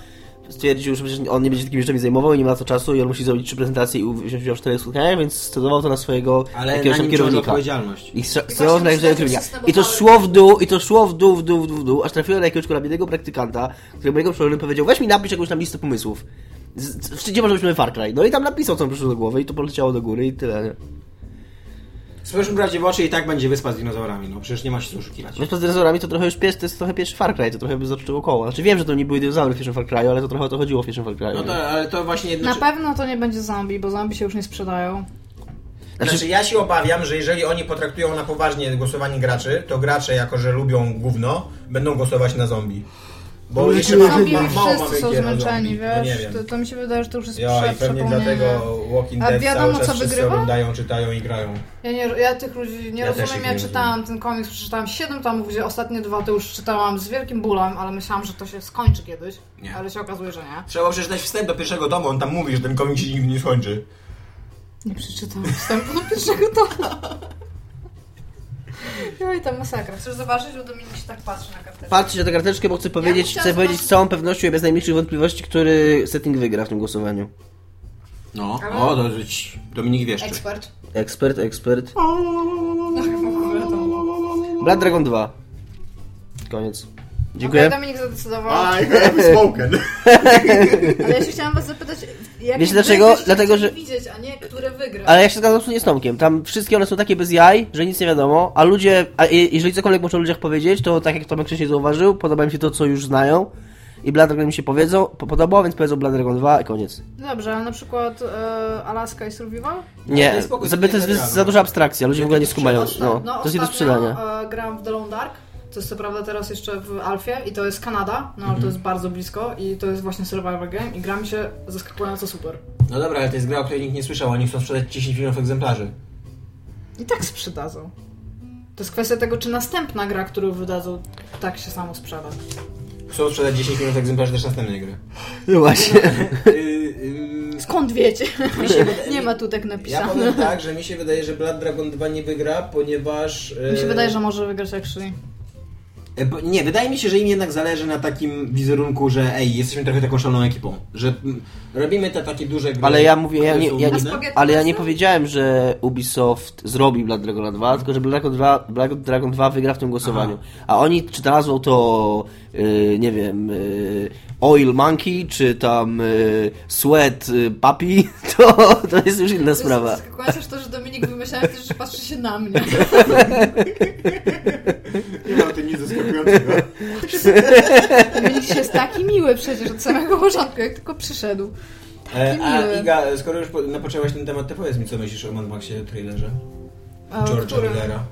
stwierdził, że przecież on nie będzie takimi rzeczami zajmował i nie ma na to czasu i on musi zrobić trzy prezentacje i wziąć udział w czterech spotkaniach, więc scedował to na swojego
Ale
jakiegoś
na
tam
nim ciąży
kierownika.
odpowiedzialność.
I
I
chcę
właśnie
znaleźć
myślałem,
trudnia.
że
I to
system
szło w dół, i to szło w dół, w dół, w dół, w dół, aż trafiłem na jakiegoś kolabiednego praktykanta, który mojego przełożonego powiedział, weź mi napisz jakąś tam listę pomysłów. Z- z- Gdzie może byśmy Far Cry? No i tam napisał, co mu przyszło do głowy i to poleciało do góry i tyle, nie?
Spójrzmy bracie w oczy i tak będzie wyspa z dinozaurami, no przecież nie ma się co oszukiwać.
Wiesz, z dinozaurami to trochę już pies, to jest trochę pierwszy Far Cry, to trochę by zaczęło koło. Znaczy wiem, że to nie były dinozaury w pierwszym Far Cry'u, ale to trochę o to chodziło w pierwszym Far Cry'u.
No
nie?
to, ale to właśnie...
Na
Znaczy,
pewno to nie będzie zombie, bo zombie się już nie sprzedają.
znaczy ja się obawiam, że jeżeli oni potraktują na poważnie głosowanie graczy, to gracze, jako że lubią gówno, będą głosować na zombie. Bo jeszcze ma,
No, znaczy, Zombie
ma, mało mamy
wszyscy są
gier o
zmęczeni,
zombie. No nie
wiesz,
wiem.
to, to mi się wydaje, że to już jest
Ja
prze,
i pewnie
przepomnienie.
dlatego Walking
A
Dead
wiadomo,
cały czas
co
wszyscy
wygrywa?
oglądają, czytają i grają.
Ja, nie, ja tych ludzi nie
Ja też
rozumiem.
ich
Ja
nie
czytałam ten komiks, przeczytałam 7 tomów, gdzie ostatnie dwa to już czytałam z wielkim bólem, ale myślałam, że to się skończy kiedyś.
Nie.
Ale się okazuje, że nie.
Trzeba przeczytać wstęp do pierwszego domu, on tam mówi, że ten komik się nigdy nie skończy.
Nie przeczytałam wstępu do pierwszego [laughs] tomu. No i tam masakra.
Chcesz zobaczyć, bo Dominik się tak patrzy na kartę.
Patrzcie na tę karteczkę, bo chcę powiedzieć,
chciała
chcę powiedzieć z
zobaczyć-
całą pewnością i bez najmniejszych wątpliwości, który setting wygra w tym głosowaniu.
No, o, to żyć. Dominik Wieszczyk.
Ekspert.
Ekspert, ekspert.
Ekspert.
Blood Dragon 2. Koniec.
Okej,
Dziękuję.
Dominik zadecydował.
have
[laughs]
spoken.
Ale ja się chciałam was zapytać, jak
Wiecie dlaczego? Dlatego, że-
Widzieć, a nie które wygra.
Ale ja się zgadzam absolutnie z Tomkiem. Tam wszystkie one są takie bez jaj, że nic nie wiadomo, a ludzie, a je- jeżeli cokolwiek muszą o ludziach powiedzieć, to tak jak Tomek wcześniej zauważył, podoba im się to, co już znają i Blood Dragon im się powiedzą, po- podobało, więc powiedzą Blood Dragon 2 i koniec.
Dobrze, a na przykład e, Alaska i Survival?
Nie,
to jest spoko,
za, to jest
generalnie.
za duża abstrakcja, ludzie w ogóle nie skumają. No,
Ostatnio-
to jest nie do sprzedania.
e, grałam w The Long Dark, to jest co prawda teraz jeszcze w Alfie i to jest Kanada, no
Mhm.
ale to jest bardzo blisko i to jest właśnie survival game i gra mi się zaskakująco super.
No dobra, ale to jest gra, o której nikt nie słyszał, oni chcą sprzedać 10 milionów egzemplarzy.
I tak sprzedadzą. To jest kwestia tego, czy następna gra, którą wydadzą, tak się samo sprzeda.
Chcą sprzedać 10 milionów egzemplarzy też następnej [laughs] gry.
No [laughs] właśnie.
Yy, yy,
Skąd wiecie?
mi się wydaje-
[laughs] Nie ma tu tak napisane.
Ja powiem tak, że mi się wydaje, że Blood Dragon 2 nie wygra, ponieważ... yy,
Mi się wydaje, że może wygrać actually.
E, bo- Nie, wydaje mi się, że im jednak zależy na takim wizerunku, że ej, jesteśmy trochę taką szaloną ekipą, że mm, robimy te takie duże gry.
Ale ja mówię, ja
które
nie,
są
ja nie,
nudne.
ale ja nie powiedziałem, że Ubisoft zrobi Blood Dragon 2, tylko że Blood Dragon 2, Blood Dragon 2 wygra w tym głosowaniu. A oni, czy to nazwą to, y, nie wiem, y, Oil Monkey, czy tam y, Sweat y, Puppy, [laughs] to, to jest już inna sprawa.
Zaskakujące też to, że Dominik wymyślałem też, że patrzy się na
[laughs]
mnie.
Nie ma o tym nic zaskakującego.
Dominik dzisiaj jest taki miły przecież od samego początku, jak tylko przyszedł.
E, a
miły.
Iga, skoro już po- napoczęłaś ten temat, to powiedz mi, co myślisz o Mad Maxie trailerze
A,
George'a
E, którym?
Millera.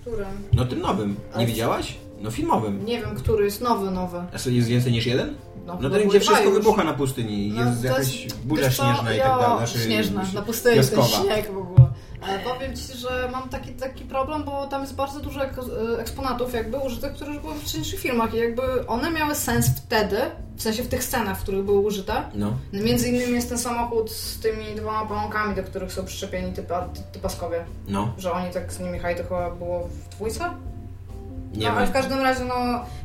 Którym?
No tym nowym. Nie widziałaś? No filmowym.
Nie wiem, który jest nowy, nowy.
A co, jest więcej niż jeden?
No,
No
chyba
ten,
były
gdzie
dwa
wszystko
już.
wybucha na pustyni.
No,
jest
to
jakaś
jest-
burza
wiesz co,
śnieżna i tak
jo,
dalej. Znaczy,
Śnieżna, na pustyni
piaskowa.
ten śnieg w ogóle. E,
Ale powiem Ci, że mam taki, taki problem, bo tam jest bardzo dużo ek-
e, Eksponatów jakby użytych, które już były w wcześniejszych filmach i jakby one miały sens wtedy, w sensie w tych scenach, w których były użyte.
No.
Między innymi jest ten samochód z tymi dwoma pałąkami, do których są przyczepieni ty, pa, ty, ty paskowie.
No,
Że oni tak z nimi haj, to chyba było w dwójce?
nie
no, ale w
wiem.
każdym razie, no,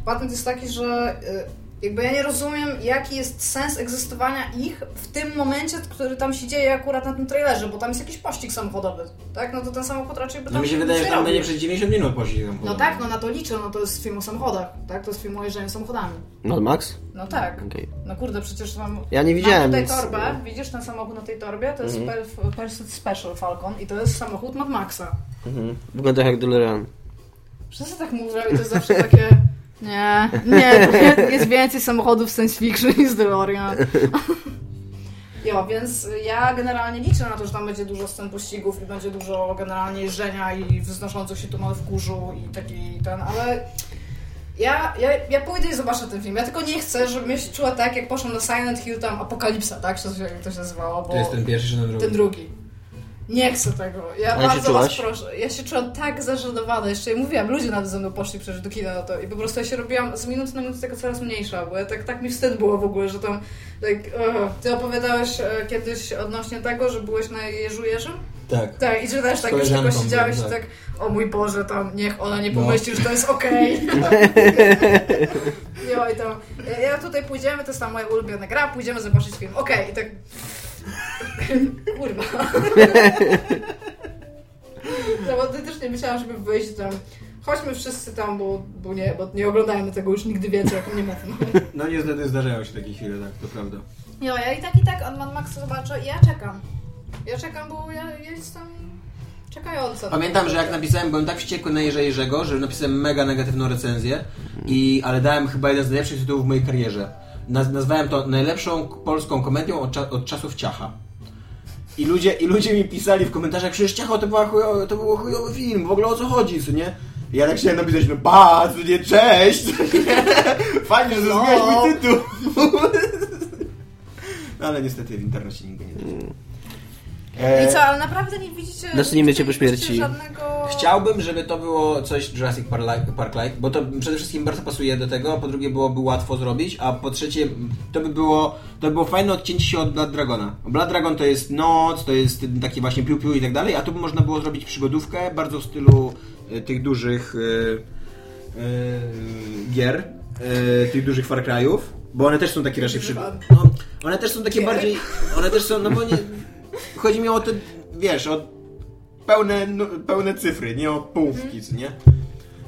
patent jest taki, że y, jakby ja nie rozumiem, jaki jest sens egzystowania ich w tym momencie, który tam się dzieje akurat na tym trailerze, bo tam jest jakiś pościg samochodowy, tak? No to ten samochód raczej by tam
No mi się
nic
wydaje,
nie
że tam
robił.
będzie przez 90 minut poszli tam.
No tak, no na to liczę, no to jest film o samochodach, tak? To jest film o jeżdżeniu samochodami.
Mad Max?
No tak.
Okej.
No kurde, przecież mam...
Ja nie
Mam
widziałem,
tutaj
więc-
torbę, widzisz ten samochód na tej torbie? To jest
Mhm.
Pers- Pursuit Special Falcon i to jest samochód Mad Maxa.
Mhm. Wygląda jak DeLorean.
Wszyscy tak mówią i to jest zawsze takie... Nie, nie, jest więcej samochodów science fiction niż DeLorean. Jo, więc ja generalnie liczę na to, że tam będzie dużo scen pościgów i będzie dużo generalnie jeżdżenia i wznoszących się tumanów w kurzu i taki ten, ale Ja, ja, ja pójdę i zobaczę ten film. Ja tylko nie chcę, żebym się czuła tak, jak poszłam na Silent Hill tam Apokalipsa, tak? Czy coś, jak to się nazywało? Bo
To jest ten pierwszy, czy ten drugi?
ten drugi. Nie chcę tego. Ja
Ale się
bardzo was
czułaś?
proszę. Ja się czułam tak zażenowana. Jeszcze mówiłam, ludzie nawet ze mną poszli przecież do kina na to. I po prostu ja się robiłam z minuty na minutę tego coraz mniejsza, bo ja tak, tak mi wstyd było w ogóle, że tam... Tak, ugh. Ty opowiadałeś e, kiedyś odnośnie tego, że byłeś na Jeżu Jerzym?
Tak.
Tak, i że też tak już tylko
koleżanką
siedziałeś i
byłem,
tak,
tak. No.
o mój Boże, tam niech ona nie pomyśli, że to jest okej.
[laughs]
Okay. i tam, e, ja tutaj pójdziemy, to jest ta moja ulubiona gra, pójdziemy zobaczyć film, okej, i tak... Kurwa. no, bo ty też nie myślałam, żeby wyjść tam, chodźmy wszyscy tam, bo, bo, nie, bo nie oglądajmy tego już nigdy więcej, jak nie ma filmu.
No niestety zdarzają się takie chwile, tak, to prawda.
Jo, ja i tak i tak on Mad Max zobaczę i ja czekam.
Ja czekam, bo ja, ja jestem czekająca.
Pamiętam, że jak napisałem, byłem tak wściekły na Jerzy Jerzego, że napisałem mega negatywną recenzję, i, ale dałem chyba jeden z najlepszych tytułów w mojej karierze. Naz- nazwałem to najlepszą k- polską komedią od, cza- od czasów Ciacha. I ludzie, I ludzie mi pisali w komentarzach, przecież Ciacho to, była chujo, to był chujowy film, w ogóle o co chodzi, co nie? I Ja tak chciałem napisać, no pa, co nie, cześć! [laughs] Fajnie, że zrozumiałeś mój tytuł! [laughs] No ale niestety w internecie nigdy nie da.
I co, ale naprawdę nie widzicie...
Znaczy nie mycie E, po
widzielibyście
śmierci.
Żadnego...
Chciałbym, żeby to było coś Jurassic Parli- Park-like, bo to przede wszystkim bardzo pasuje do tego, po drugie byłoby łatwo zrobić, a po trzecie to by było, to by było fajne odcięcie się od Blood Dragona. Blood Dragon to jest noc, to jest taki właśnie piu-piu i tak dalej, a tu by można było zrobić przygodówkę bardzo w stylu e, tych dużych e, e, gier, e, tych dużych Far Cry'ów, bo one też są takie raczej przygody. No, one też są takie bardziej, one też są, no bo nie, chodzi mi o te, wiesz, o pełne, nu- pełne cyfry, nie o połówki, co nie?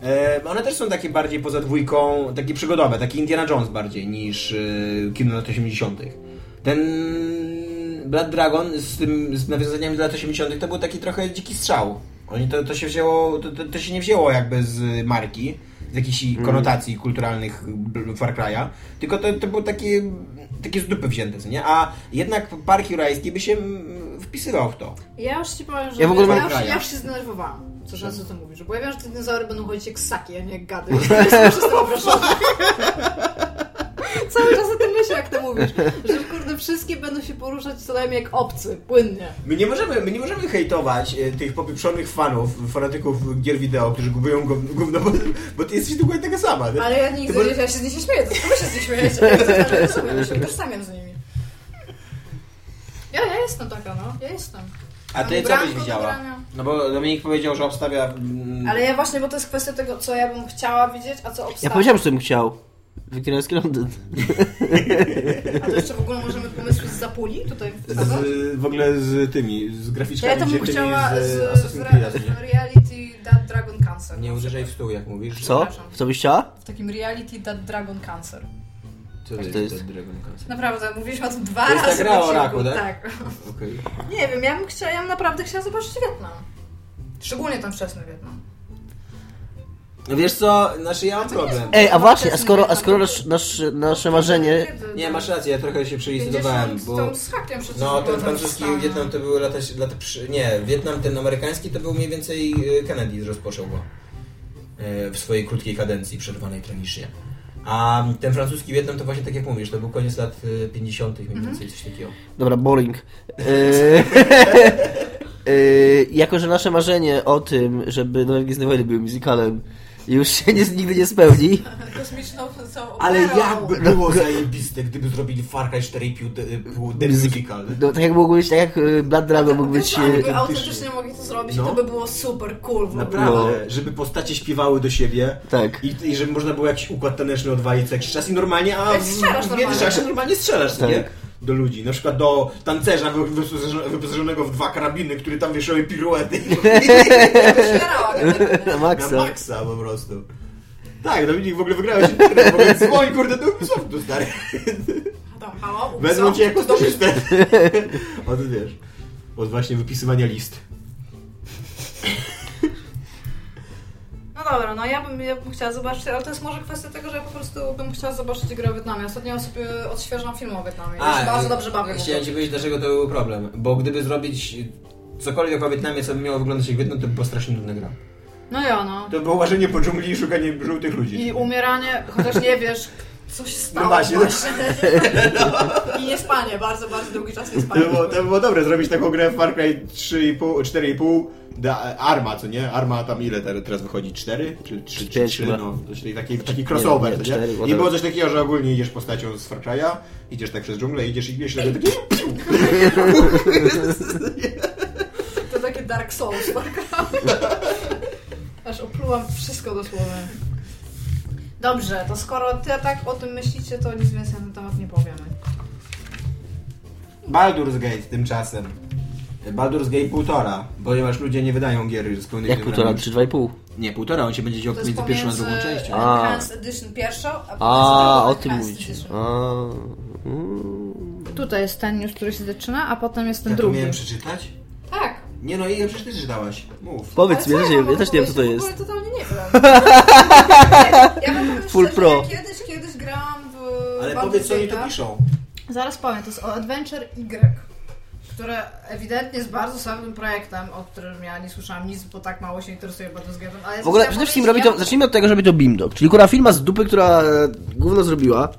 E, one też są takie bardziej poza dwójką, takie przygodowe, takie Indiana Jones bardziej niż e, kino lat 80. Ten Blood Dragon z tym z nawiązaniami do lat 80. to był taki trochę dziki strzał. Oni to, to się wzięło, to, to, to się nie wzięło jakby z marki, z jakichś konotacji kulturalnych bl- Far Cry'a, tylko to, to było takie, takie z dupy wzięte, co nie? A jednak Park Jurajski by się mm, wpisywał w to.
Ja już ci powiem, że
Ja w ogóle
ja,
mam-
już, ja już się zdenerwowałam. Co że co ty mówisz? Bo ja wiem, że te dinozaury będą chodzić jak ssaki, a nie jak
[laughs]
gady. Jestem przez to oproszona. Cały czas o tym myślę, jak to mówisz. Że kurde, wszystkie będą się poruszać co najmniej jak obcy, płynnie.
My nie możemy, my nie możemy hejtować e, tych popieprzonych fanów, fanatyków gier wideo, którzy kupują gó- gówno, bo, bo ty jesteś dokładnie taka sama. Nie?
Ale ja nigdy,
Ty możesz-
ja się z nich nie śmieję, to tylko wy się z nich śmiejecie. Ja się rozumiem, ja się utożsamiam z nimi. Ja, ja jestem taka, no. Ja jestem.
A ty
Mam
co byś
branko do
widziała?
grania.
No bo Dominik powiedział, że obstawia... mm,
Ale ja właśnie, bo to jest kwestia tego, co ja bym chciała widzieć, a co obstawiam.
Ja powiedziałem, że bym chciał. Wiktoriański Londyn.
A to jeszcze w ogóle możemy pomysły z Zapuli tutaj wsadzać?
Z, w ogóle z tymi, z
To ja
graficzkami
to bym
wziętymi
chciała z,
z
z,
Assassin's Creed'a, co nie?
re- reality that dragon cancer.
Nie uderzaj w stół, jak mówisz.
Co? W co byś chciała?
W takim reality that dragon cancer.
Co
to
to
jest?
jest ten Dragon Quest?
Naprawdę, mówiliśmy o tym dwa
To jest ta
razy.
gra
w
o raku,
odcinku.
tak? Okej.
Nie wiem, ja bym chciała, ja bym naprawdę chciała zobaczyć Wietnam. Szczególnie ten wczesny Wietnam.
No Wiesz co, znaczy ja mam
to nie jest-
problem.
Ej, a właśnie, a skoro, a skoro nasz, nasz, nasze marzenie...
Nie, masz rację, ja trochę się przelicydowałem,
50
bo...
tam z hakiem przecież
No,
było
ten
tam
francuski
wstanie.
Wietnam to były lata, lata przy... Nie, Wietnam ten amerykański to był mniej więcej y, Kennedy rozpoczął go y, w swojej krótkiej kadencji, przerwanej tragicznie. A ten francuski Wietnam to właśnie tak jak mówisz, to był koniec lat y, 50. mniej więcej, coś takiego.
Mhm.
Dobra, boring. Yy, [laughs] yy, jako, że nasze marzenie o tym, żeby Nowe Gwiezdne Wojny były musicalem, już się nie, nigdy nie spełni.
Kosmiczną całą
Ale
operą.
jakby było zajebiste, gdyby zrobili Far Cry 4,5 The Musical.
No, tak jak mógł być, tak jak y, Blood Dragon mógł być...
Wiesz,
y,
jakby autentycznie mogli to zrobić,
No.
to by było super cool. w ogóle.
Naprawdę, żeby postacie śpiewały do siebie
Tak.
i, i żeby można było jakiś układ taneczny odwalić co jakiś czas i normalnie, a
Jak Tak, strzelasz
w
normalnie.
międzyczasie normalnie strzelasz,
Tak.
nie? Do ludzi, na przykład do tancerza wy- wyposażone- wyposażonego w dwa karabiny, który tam wieszały piruety
[laughs] Otwierała generalnie.
Na
na
maksa.
maksa po prostu. Tak, Dominik w ogóle wygrałeś internet, w ogóle dzwoń kurde do Ubisoftu, stary.
Tam, No
[laughs]
halo,
Wezmą
Ubisoft,
cię jako
to dobrze.
[laughs] stażystę. Od wiesz, od właśnie wypisywania list.
No dobra, no ja bym, ja bym chciała zobaczyć, ale to jest może kwestia tego, że ja po prostu bym chciała zobaczyć grę o Wietnamie. Ostatnio sobie odświeżam film o Wietnamie. Ja się bardzo dobrze bawię.
y, Chciałem ci powiedzieć, dlaczego to był problem. Bo gdyby zrobić cokolwiek o Wietnamie, co by miało wyglądać jak Wietnam, to by była strasznie nudna gra.
No ja no.
To było łażenie po dżungli i szukanie żółtych ludzi.
I umieranie, chociaż nie wiesz,
Co się stało?
No właśnie.
[laughs]
I nie spanie, bardzo, bardzo długi czas nie
To
spanie.
było, to było dobre zrobić taką grę w Far Cry 3,5, 4,5. Da, arma, co nie? Arma tam ile te- teraz wychodzi? 4? Czy 3? Czy,
Pięć
trzy?
chyba.
no, czyli taki, taki crossover,
nie,
nie,
cztery,
I
whatever.
było coś takiego, że ogólnie idziesz postacią z Far Cry'a, idziesz tak przez dżunglę, idziesz i idziesz, i nagle taki...
To takie Dark Souls,
[laughs]
tak?
aż oplułam wszystko dosłownie. Dobrze, to skoro ty tak o tym myślicie, to nic więcej na ten temat nie powiemy.
Baldur's Gate tymczasem. Baldur's Gate półtora, ponieważ ludzie nie wydają gier z pełnymi
Jak półtora? Trzy, dwa i pół.
Nie, półtora, on się będzie dział
To jest
między pierwszą a
pomiędzy
drugą częścią.
A.
Enhanced Edition pierwszą, a pomiędzy
A,
drugą
o tym
Enhanced
mówicie.
Edition.
A, mm.
Tutaj jest ten już, który się zaczyna, a potem jest ten
Ja to
drugi.
Tak, miałem przeczytać?
Tak.
Nie no, i ja przecież ty czytałaś. Mów.
Powiedz mi,
Ale
ja też
co mam
nie- ja też nie wiem co to
powiedzieć? W
jest.
ogóle totalnie nie
[laughs]
wiem.
Ja wam powiem
Full
szczerze,
pro.
ja Kiedyś, kiedyś grałam w
Ale
Baldur's
powiedz, co oni
Gate'a.
to piszą.
tak?
Zaraz powiem, to jest o Adventure Y, które ewidentnie jest bardzo słabym projektem, o którym ja nie słyszałam nic, bo tak mało się interesuje Baldur's Gate'em. ale ja
W ogóle
chciałam
przede wszystkim robi
powiedzieć,
to, zacznijmy od tego, że robi to Bimdog, czyli kurwa firma z dupy, która e, gówno zrobiła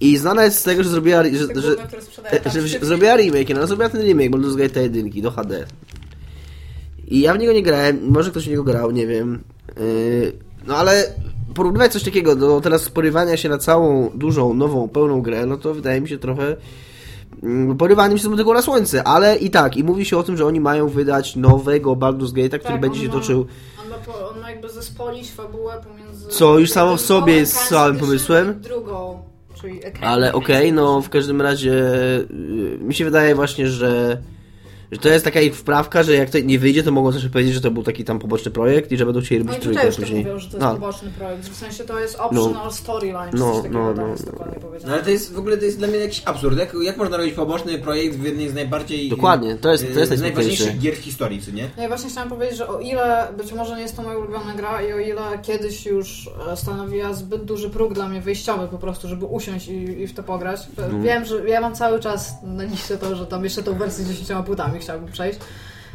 i znana jest z tego, że zrobiła,
Tak
że, że,
Gówno, które sprzedają
E,
tam
że
szybki.
zrobiła remake, no zrobiła ten remake Baldur's Gate 1 do HD. I ja w niego nie grałem, może ktoś w niego grał, nie wiem. Yy, no ale porównywać coś takiego do teraz porywania się na całą, dużą, nową, pełną grę, no to wydaje mi się trochę mm, porywaniem się z motyką na słońce, ale i tak, i mówi się o tym, że oni mają wydać nowego Baldur's Gate'a, który
Tak,
będzie
on
się
ma-
toczył,
On ma, po, on ma jakby zespolić fabułę pomiędzy...
Co już samo w
tym
sobie jest
Enhanced
słabym
Edition
pomysłem.
i Drugą, czyli... Enhanced
ale
Edition.
okej, no w każdym razie yy, mi się wydaje właśnie, że że to jest taka ich wprawka, że jak to nie wyjdzie, to mogą zawsze powiedzieć, że to był taki tam poboczny projekt i że będą chcieli
No i
robić
tutaj
trójkę
już tak
później.
mówią, że to jest
No,
poboczny projekt, że w sensie to jest optional storyline, czy
No,
coś takiego
no,
tam
no,
jest
no.
dokładnie
No
powiedziane.
ale to jest w ogóle to jest dla mnie jakiś absurd. Jak, jak można robić poboczny projekt w jednej z najbardziej.
Dokładnie, to jest- to
e,
jest
z najważniejszych
najsmutniejsze.
gier w historii, co nie?
No i właśnie chciałam powiedzieć, że o ile być może nie jest to moja ulubiona gra i o ile kiedyś już e, stanowiła zbyt duży próg dla mnie wyjściowy po prostu, żeby usiąść i, i w to pograć. E,
No.
Wiem, że ja mam cały czas na liście to, że tam jeszcze tą wersję z 10 płytami chciałabym przejść,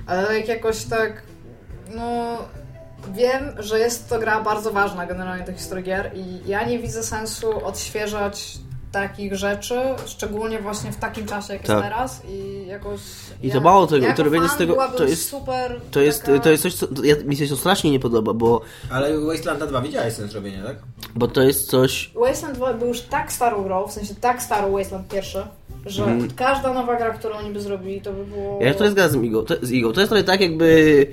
ale jak jakoś tak, no... Wiem, że jest to gra bardzo ważna generalnie do historii gier i ja nie widzę sensu odświeżać takich rzeczy, szczególnie właśnie w takim czasie, jak
Tak.
jest teraz i jakoś...
I
ja-
to mało tego,
ja jako
to robienie z
fan
tego- to
byłabym
jest-
super
To jest,
taka-
to jest coś, co ja, mi się to strasznie nie podoba, bo,
Ale Wastelanda 2 widziałeś sens robienia, tak?
bo to jest coś...
Wasteland 2 był już tak starą grą, w sensie tak starą Wasteland pierwszy, że każda nowa gra, którą oni by zrobili, to by było...
Mhm. Ja to zgadzam z Igą, to, z Igą. to jest trochę tak jakby...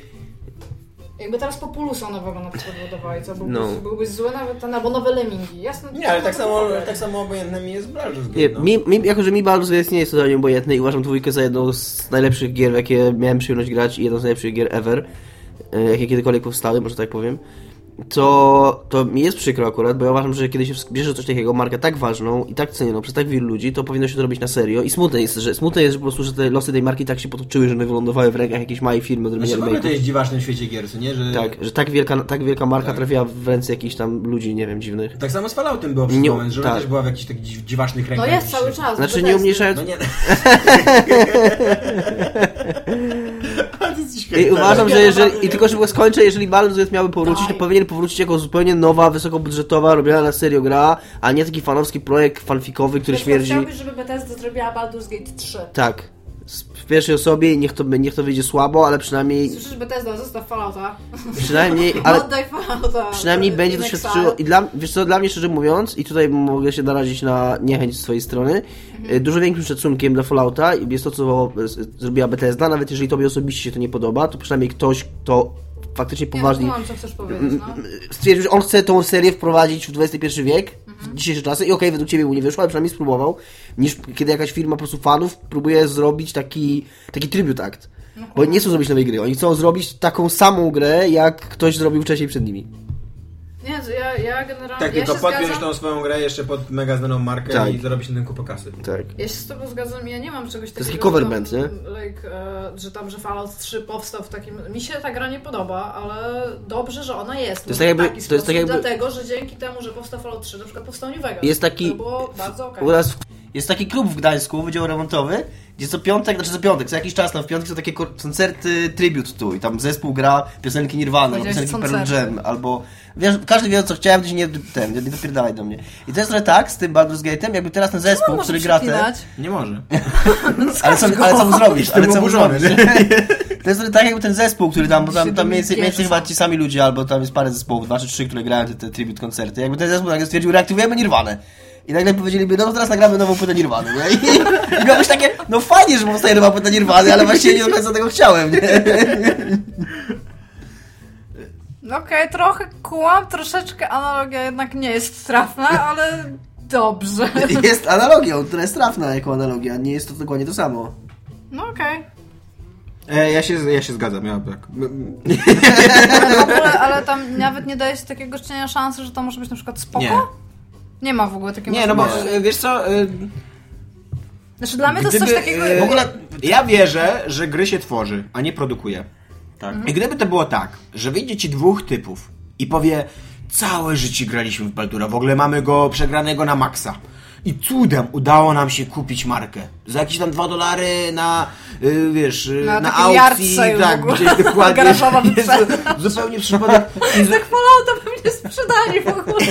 Jakby teraz Populusa nowego na przykład wydawali, to byłby,
No.
byłby zły nawet ten, albo nowe Lemingi, jasne?
Nie, ale tak samo, tak samo obojętne mi jest Baldur's Gate.
Nie,
no.
mi, mi, jako, że mi Baldur's Gate nie jest totalnie obojętny i uważam dwójkę za jedną z najlepszych gier, w jakie miałem przyjemność grać i jedną z najlepszych gier ever, e, jakie kiedykolwiek powstały, może tak powiem, to, to mi jest przykro akurat, bo ja uważam, że kiedy się wsk- bierze coś takiego, markę tak ważną i tak cenioną przez tak wielu ludzi, to powinno się to robić na serio i smutne jest, że, smutne jest, że po prostu, że te losy tej marki tak się potoczyły, że one wylądowały w rękach jakiejś małej firmy do robienia
Znaczy, w ogóle to
remake'ów.
jest dziwaczne w świecie gier, co nie? Że...
Tak, że tak wielka, tak wielka marka trafiła w ręce jakichś tam ludzi, nie wiem, dziwnych.
Tak samo z Falloutem było przez
Nie,
moment, że
tak.
ona też była w jakichś takich dziw- dziwacznych
No
rękach.
jest
gdzieś
cały
się-
czas.
Znaczy
bo
nie
to jest-
umniejszając
No [laughs] nie.
I uważam, że jeżeli, i tylko żeby skończę, jeżeli Baldur's Gate miałby powrócić, to
no Daj.
powinien powrócić jako zupełnie nowa, wysokobudżetowa, robiona na serio gra, a nie taki fanowski projekt fanfikowy, który śmierdzi.
Chciałbym, żeby Bethesda zrobiła Baldur's Gate 3.
Tak. Z- W pierwszej osobie i niech to, by- niech to wyjdzie słabo, ale przynajmniej,
Słyszysz Bethesda, zostaw Fallouta, no
przynajmniej, ale
[laughs] oddaj Fallouta.
przynajmniej będzie to
Inexile.
świadczyło, i dla, wiesz co, dla mnie szczerze mówiąc, i tutaj mogę się narazić na niechęć z twojej strony,
Mhm.
e, dużo większym szacunkiem dla Fallouta jest to, co e, z- zrobiła Bethesda, nawet jeżeli tobie osobiście się to nie podoba, to przynajmniej ktoś, kto faktycznie
Nie,
poważnie... Mm,
no, kumam, co chcesz powiedzieć, no.
stwierdził, że on chce tą serię wprowadzić w XXI wiek, w dzisiejsze czasy i okej, według Ciebie mu nie wyszło, ale przynajmniej spróbował, niż kiedy jakaś firma po prostu fanów próbuje zrobić taki, taki tribute act. Bo oni nie chcą zrobić nowej gry, oni chcą zrobić taką samą grę, jak ktoś zrobił wcześniej przed nimi.
Nie, to ja, ja generalnie...
Tak,
ja
tylko
się
podpiąć
zgadzam-
tą swoją grę jeszcze pod mega znaną markę
Tak.
i zarobić na tym kupę kasy.
Tak.
Ja się z tobą zgadzam, ja nie mam czegoś takiego.
jest taki cover
że
band,
tam,
nie?
Like, e, że tam, że Fallout 3 powstał w takim... Mi się ta gra nie podoba, ale dobrze, że ona jest. To
jest tak jakby-
Taki
to jest
sposób,
tak jakby-
Dlatego, że dzięki temu, że powstał Fallout 3, na przykład powstał New Vegas.
Jest taki-
To było bardzo okej.
U nas w Jest taki klub w Gdańsku, Wydział Remontowy, gdzie co piątek, znaczy co piątek, co jakiś czas, tam w piątki są takie kor- koncerty tribute tu i tam zespół gra piosenki Nirvana, albo
Powiedziałeś
piosenki Pearl
koncerty.
Jam, albo... Wiesz, każdy wie co chciałem, to się nie, ten, nie dopierdalaj do mnie. I to jest trochę tak z tym Baldur's Gate'em, jakby teraz ten
No,
zespół, który gra ten...
Nie może.
Ale co, ale co mu zrobisz? Ale co mu
oburzony,
zrobisz? [laughs] To jest tak jakby ten zespół, który tam, bo tam, tam jest, jest chyba ci sami ludzie, albo tam jest parę zespołów, dwa czy trzy, które grają te, te tribute koncerty. Jakby ten zespół nagle stwierdził, reaktywujemy Nirwanę. I nagle powiedzieliby, no to teraz nagramy nową płytę Nirwany, nie? I, i miałbyś takie, no fajnie, że powstaje nowa płyta Nirwany, ale właściwie nie do końca tego chciałem, nie?
No okej, trochę kłam, troszeczkę analogia jednak nie jest trafna, ale
[laughs]
dobrze.
Jest analogią, która jest trafna jako analogia, nie jest to dokładnie to samo.
No okej.
E, ja, się, ja się zgadzam, ja tak.
Ale w ogóle, ale tam nawet nie daje się takiego cienia szansy, że to może być na przykład spoko?
Nie.
Nie, ma w ogóle takiego
Nie, no bo
możliwości.
e, wiesz co,
y,
e,
Znaczy dla mnie to jest
gdyby,
coś takiego...
e, w ogóle ja wierzę, że gry się tworzy, a nie produkuje. Tak.
Mhm.
I gdyby to było tak, że wyjdzie ci dwóch typów i powie całe życie graliśmy w Baldura, w ogóle mamy go przegranego na maksa. I cudem udało nam się kupić markę. Za jakieś tam dwa dolary na, y, wiesz, y,
Na
na,
takim
aukcji,
yard sale w
tak,
ogóle.
gdzieś
[laughs]
dokładnie.
Garażowa
[laughs] Jest
wyprzedaż.
to Zupełnie przypadek. I, z,
Fallouta pewnie [laughs] sprzedali w ogóle.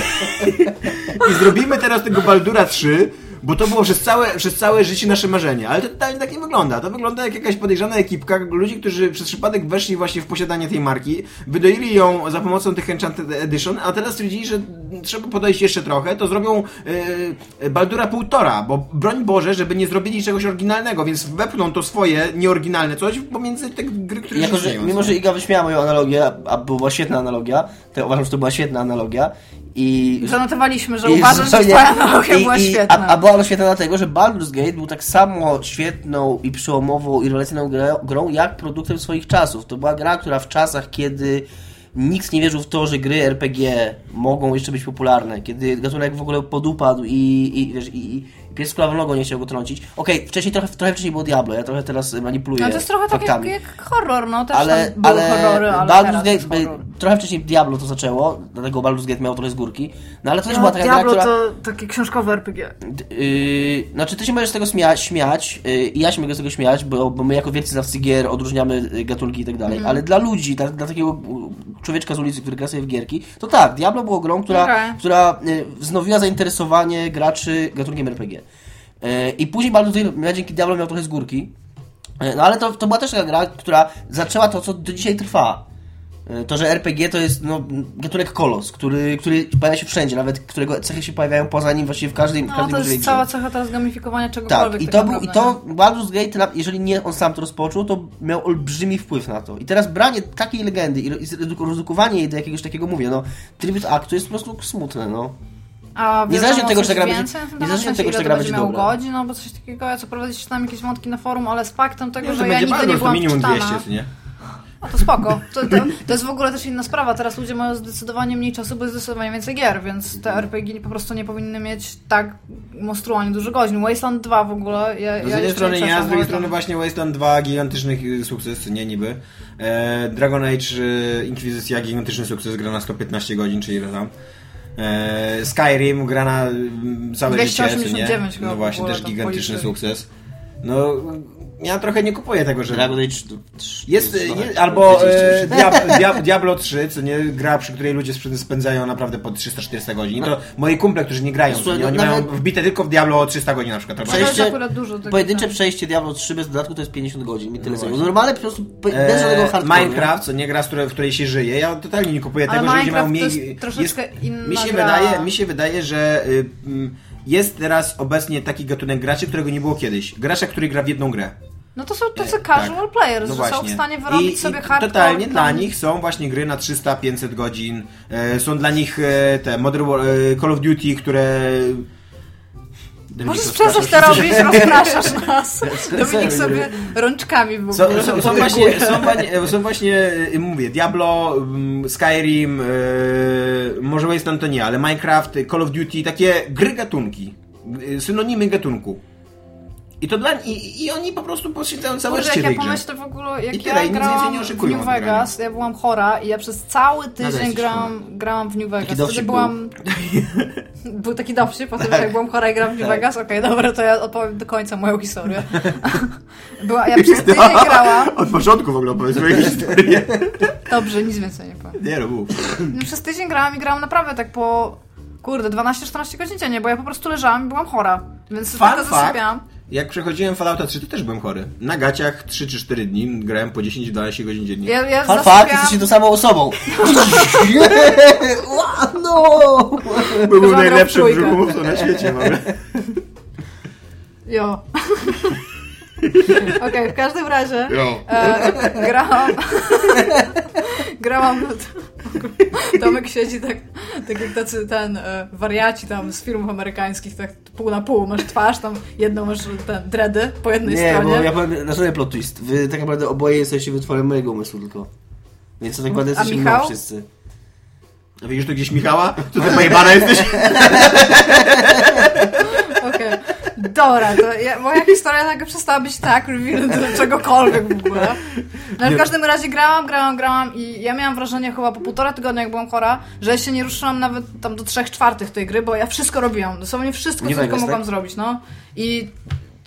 I zrobimy teraz tego Baldura 3, bo to było przez całe, przez całe życie nasze marzenie. Ale to totalnie tak nie wygląda. To wygląda jak jakaś podejrzana ekipka ludzi, którzy przez przypadek weszli właśnie w posiadanie tej marki, wydoili ją za pomocą tych Enchanted Edition, a teraz stwierdzili, że trzeba podejść jeszcze trochę, to zrobią e, Baldura półtora, bo broń Boże, żeby nie zrobili czegoś oryginalnego, więc wepną to swoje nieoryginalne coś pomiędzy te gry, które
Jako,
już
że,
istnieją.
mimo, że Iga wyśmiała moją analogię, a- a była świetna analogia, to ja uważam, że to była świetna analogia i...
Zanotowaliśmy, że
I
uważasz, że
zupełnie-
twoja analogia
i-
była
i-
świetna.
A, a była ona świetna dlatego, że Baldur's Gate był tak samo świetną i przełomową i rewelacyjną grę, grą, jak produktem swoich czasów. To była gra, która w czasach, kiedy nikt nie wierzył w to, że gry RPG mogą jeszcze być popularne, kiedy gatunek w ogóle podupadł i, i wiesz, i, i pies z kulawą nogą nie chciał go trącić. Okej, wcześniej trochę, trochę wcześniej było Diablo, ja trochę teraz manipuluję
No to jest trochę tak jak,
faktami
jak horror, no też
ale,
tam były
ale
horrory, ale
Baldur's
teraz jest
Gate, y,
horror.
trochę wcześniej Diablo to zaczęło, dlatego Baldur's Gate miał trochę z górki, no ale to też była taka
Diablo
gra, która...
to taki książkowy RPG.
D- Yy, znaczy, ty się możesz z tego śmiać, śmiać yy, i ja się mogę z tego śmiać, bo, bo my jako wielcy znawcy gier odróżniamy y, gatunki i tak dalej,
Mhm.
ale dla ludzi, dla, dla takiego y, człowieczka z ulicy, który gra sobie w gierki, to tak, Diablo było grą, która,
Okej.
która y, wznowiła zainteresowanie graczy gatunkiem RPG. Yy, I później Baldur's Gate ja dzięki Diablo miał trochę z górki, Yy, no ale to, to była też taka gra, która zaczęła to, co do dzisiaj trwa. Yy, To, że RPG to jest no, gatunek kolos, który, który pojawia się wszędzie, nawet którego cechy się pojawiają poza nim właściwie w każdym
No
każdym
to
możliwej
jest
grze.
cała cecha teraz gamifikowania czegokolwiek.
Tak, i to, był, i
naprawdę, nie?
to Baldur's Gate, na- jeżeli nie on sam to rozpoczął, to miał olbrzymi wpływ na to. I teraz branie takiej legendy i i zreduku- redukowanie jej do jakiegoś takiego, mówię, no, tribute aktu jest po prostu smutne, no.
A wiadomo
niezależnie od tego,
coś
czy ta gra
więcej
będzie-
na ten
niezależnie
temat,
od
sensie,
tego, czy
ile
ta gra
to
będzie
miał
dobra.
godzin albo coś takiego, ja co prawda gdzieś tam jakieś wątki na forum, ale z faktem tego,
Wiesz,
że ja
będzie
nigdy nie
Baldur, to
byłam
minimum
czytana.
200, nie?
A to spoko. To, to, to jest w ogóle też inna sprawa. Teraz ludzie mają zdecydowanie mniej czasu, bo jest zdecydowanie więcej gier, więc
Mhm.
te RPG po prostu nie powinny mieć tak monstrualnie dużo godzin. Wasteland 2 w ogóle. Ja,
No z
ja
jednej
jeszcze
strony
nie
ja, z
przeszłam,
drugiej
ale
strony
tam-
właśnie Wasteland 2, gigantyczny y, sukces, nie niby. E, Dragon Age e, Inkwizycja, gigantyczny sukces, gra na 115 godzin, czy ile tam. E, Skyrim gra na mm, całe życie, co nie?
289 chyba
No właśnie,
było
też
tam
gigantyczny
policzy.
sukces. No, ja trochę nie kupuję tego, że...
Dragon Age... d- trz-
Jest,
trz-
je, albo e,
40.
Diab, Diab, Diablo 3, co nie gra, przy której ludzie spęd- spędzają naprawdę po 340 godzin. To moi kumple, którzy nie grają, co
Tak. Słuchaj,
nie,
no
oni
nawet-
mają wbite tylko w Diablo o 300 godzin na przykład. albo
To jest
Przejście-
akurat dużo tego,
Pojedyncze
tak.
przejście Diablo 3 bez dodatku to jest 50 godzin, mi tyle
No
zajęło.
właśnie.
Normalne po prostu, po- bez żadnego
Eee,
hardcore.
Minecraft, co nie gra, z której, w której się żyje. Ja totalnie nie kupuję
Ale
tego, że ludzie mają
Minecraft to
mniej.
jest troszeczkę inna
mi się
gra.
wydaje, mi się wydaje, że y, mm, jest teraz obecnie taki gatunek graczy, którego nie było kiedyś. Gracza, który gra w jedną grę.
No to są to
E,
są casual players,
No
że są w
właśnie.
stanie wyrobić
I,
sobie
i
hardcore.
Totalnie dla
tam-
nich są właśnie gry na 300-500 godzin. E, są dla nich e, te Modern War, e, Call of Duty, które.
Możesz
Dominik, rozpraszasz
przestać to robić,
[laughs]
rozpraszasz nas. Dominik sobie rączkami w ogóle.
Są, są, są, właśnie, są, właśnie, są właśnie, y, mówię, Diablo, mm, Skyrim, y, może Wasteland to nie, ale Minecraft, Call of Duty, takie gry gatunki, y, synonimy e, gatunku. I to dla i, i oni po prostu poświęcają całe
Kurde,
życie
jak ja
tej grze.
pomyślę w ogóle, jak
I tyle, i
ja
nic więcej
grałam
nie
w
oczekują
New
generalnie.
Vegas, ja byłam chora i ja przez cały
Nadal
tydzień
No jesteś
grałam, grałam w New Vegas. Wtedy
dowcip Tak. [laughs]
byłam... Był taki dowcip po tym, że jak byłam chora i grałam w New Vegas, okej, dobra, to ja opowiem do końca moją
[laughs]
historię. [laughs] Była, ja przez tydzień grałam...
Od początku w ogóle opowiedz [laughs] moją historię.
Dobrze, nic więcej nie powiem.
Nie, no mów.
No, przez tydzień grałam i grałam naprawdę tak po... Kurde, 12-14 godzin dziennie, bo ja po prostu leżałam i byłam chora. Więc
Fun
tylko
fact.
zasypiałam.
Jak przechodziłem Fallouta 3, to też byłem chory. Na gaciach 3 czy 4 dni grałem po 10-12 godzin dziennie.
Ja, ja
Fun fact,
zasypiałam...
jesteście tą samą
[laughs]
osobą. Ła, no!
Bo był
Zagrał w
najlepszym
trójkę.
brzuchomówcą na świecie. w ogóle. [laughs]
[laughs]
Jo. Okej, w każdym razie
No.
e, grałam. [laughs] grałam. [laughs] Tomek siedzi tak, tak jak tacy ten e, wariaci tam z filmów amerykańskich, tak pół na pół masz twarz, tam jedną masz ten dredy po jednej
Nie, bo
stronie.
ja powiem, na żaden plot twist. Wy tak naprawdę oboje jesteście wytworem mojego umysłu tylko. Więc to tak naprawdę
A
jesteśmy
Michał?
mną wszyscy.
A widzisz tu gdzieś [laughs] Michała? To ty pojebana jesteś?
Okej. Dobra, to ja, moja historia nagle przestała być tak revealant do czegokolwiek w
[laughs]
ogóle. No ale w każdym razie grałam, grałam, grałam i ja miałam wrażenie chyba po półtora tygodnia, jak byłam chora, że ja się nie ruszyłam nawet tam do trzech czwartych tej gry, bo ja wszystko robiłam, dosłownie wszystko,
Nie
co tylko
Vegas,
mogłam
tak?
zrobić, no. I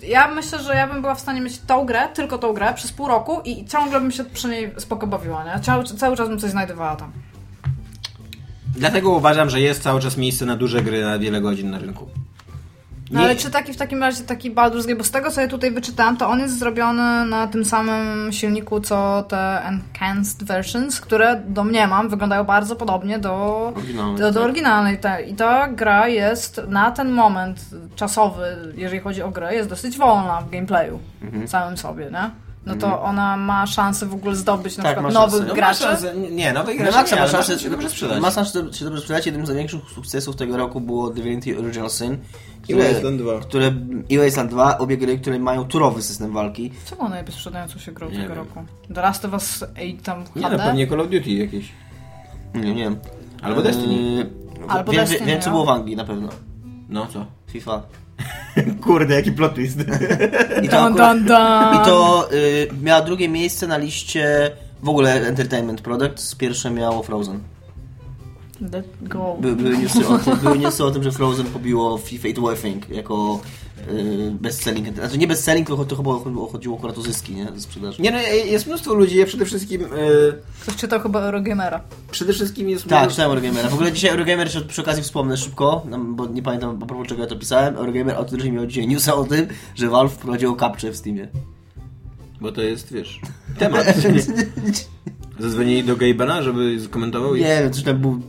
ja myślę, że ja bym była w stanie mieć tą grę, tylko tą grę, przez pół roku i ciągle bym się przy niej spoko bawiła, nie? Cały, cały czas bym coś znajdowała tam.
Dlatego uważam, że jest cały czas miejsce na duże gry na wiele godzin na rynku.
No
Nie-
ale czy taki w takim razie taki Baldur's Gate, bo z tego co ja tutaj wyczytałam, to on jest zrobiony na tym samym silniku co te enhanced versions, które do mnie mam, wyglądają bardzo podobnie do,
Oryginalne,
do, do
tak.
oryginalnej. Te. I ta gra jest na ten moment czasowy, jeżeli chodzi o grę, jest dosyć wolna w gameplayu
Mhm.
samym sobie, nie? No to ona ma szansę w ogóle zdobyć na
Tak,
przykład
ma szansę.
nowych
No,
graczy.
masz Mhm. szansę- Nie, no
Na
wygrasz.
maksa
nie,
ma
ale masz
szansę
szansę się dobrze sprzedać.
Ma szansę się dobrze sprzedać. Jednym z największych sukcesów tego roku było Divinity Original Sin.
Wasteland 2.
Które, I Wasteland 2, obie gry, które mają turowy system walki.
Czemu ona jest sprzedającą się grą
Nie
tego
wiem.
roku? The Last of Us 8 tam HD?
Nie, no pewnie Call of Duty jakieś.
Nie wiem.
Albo Destiny.
Eee, Albo
wiem,
Destiny,
wiem, co
no.
było w Anglii na pewno.
No co?
FIFA.
Kurde, jaki plot twist.
I to,
Dun,
akurat,
dun, dun.
i to y, miało drugie miejsce na liście w ogóle Entertainment Products. Pierwsze miało Frozen.
Let go.
By, były, newsy
[laughs]
o, tym- były newsy o tym, że Frozen pobiło FIFA i było thing jako y, bestselling. Znaczy nie bestselling, tylko to chyba chodziło- chodziło akurat o zyski nie? ze sprzedaży.
Nie no, jest mnóstwo ludzi, ja przede wszystkim... e,
Ktoś czytał chyba Eurogamera.
Przede wszystkim jest...
Tak,
mnóstwo-
czytałem Eurogamer. W ogóle dzisiaj Eurogamer, jeszcze przy okazji wspomnę szybko, no, bo nie pamiętam po propos czego ja to pisałem. Eurogamer o tym, że miał dzisiaj newsa o tym, że Valve wprowadziło kapcze w Steamie.
Bo to jest, wiesz, [laughs] temat. Zadzwonili do Gabena, żeby skomentował i...
Nie wiem, coś tam był...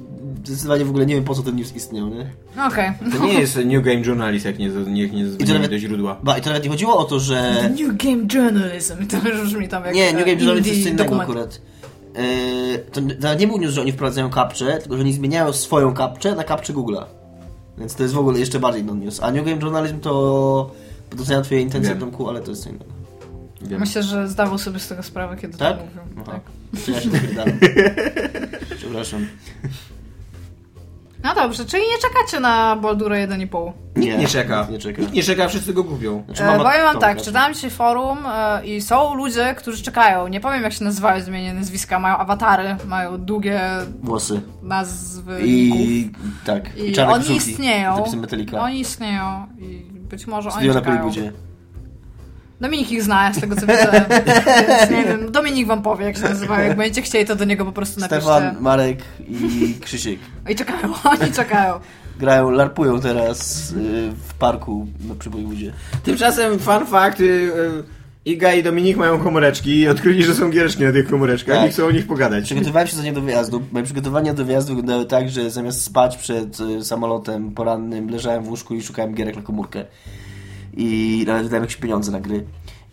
Zdecydowanie w ogóle nie wiem po co ten news istniał, nie?
No Okej.
To
[laughs]
nie [laughs] jest New Game Journalist, jak nie, nie, nie zadzwonili do źródła.
Ba, i to nawet nie chodziło o to, że...
[laughs] New Game Journalism. To już brzmi tam jak
E. Nie, New Game
e,
Journal to jest co
indie
innego
dokument.
akurat. Yy, to nawet nie był news, że oni wprowadzają kapcze, tylko że oni zmieniają swoją kapczę na kapczę Google'a. Więc to jest w ogóle jeszcze bardziej non-news. A New Game Journalism to... Doceniam twoje intencje,
Wiem.
Tomku, ale to jest co innego.
Wiem.
Myślę, że zdawał sobie z tego sprawę, kiedy
Tak?
to mówił.
Aha.
Tak.
[laughs]
Czy ja się wypierdam? Przepraszam.
No dobrze, czyli nie czekacie na Baldura 1,5.
Nie,
Nie czeka.
Nie czeka.
Nikt nie czeka, wszyscy go kupią.
Znaczy,
E, powiem wam
tą
tak,
pracę.
czytałam dzisiaj forum e, i są ludzie, którzy czekają. Nie powiem jak się nazywają, zmienię nazwiska. Mają awatary, mają długie
Włosy.
nazwy. ników.
I tak. I,
I
czarne
oni
koszulki.
istnieją.
Zapisy Metallica.
Oni istnieją i być może oni
tak. Studio na
czekają.
Polibudzie.
Dominik ich zna, ja z tego co widzę. Więc nie wiem, Dominik wam powie, jak się nazywają. Jak będziecie chcieli, to do niego po prostu napiszcie.
Stefan, Marek i Krzysiek.
I czekają, [laughs] oni czekają.
Grają, larpują teraz y, w parku na- przy Polibudzie.
Tymczasem, fun fact, y, y, Iga i Dominik mają komóreczki i odkryli, że są giereczki na tych komóreczkach
Tak.
i chcą o nich pogadać.
Przygotowywałem się za nie do wyjazdu. Moje przygotowania do wyjazdu wyglądały tak, że zamiast spać przed y, samolotem porannym, leżałem w łóżku i szukałem gierek na komórkę. I nawet wydałem jakieś pieniądze na gry.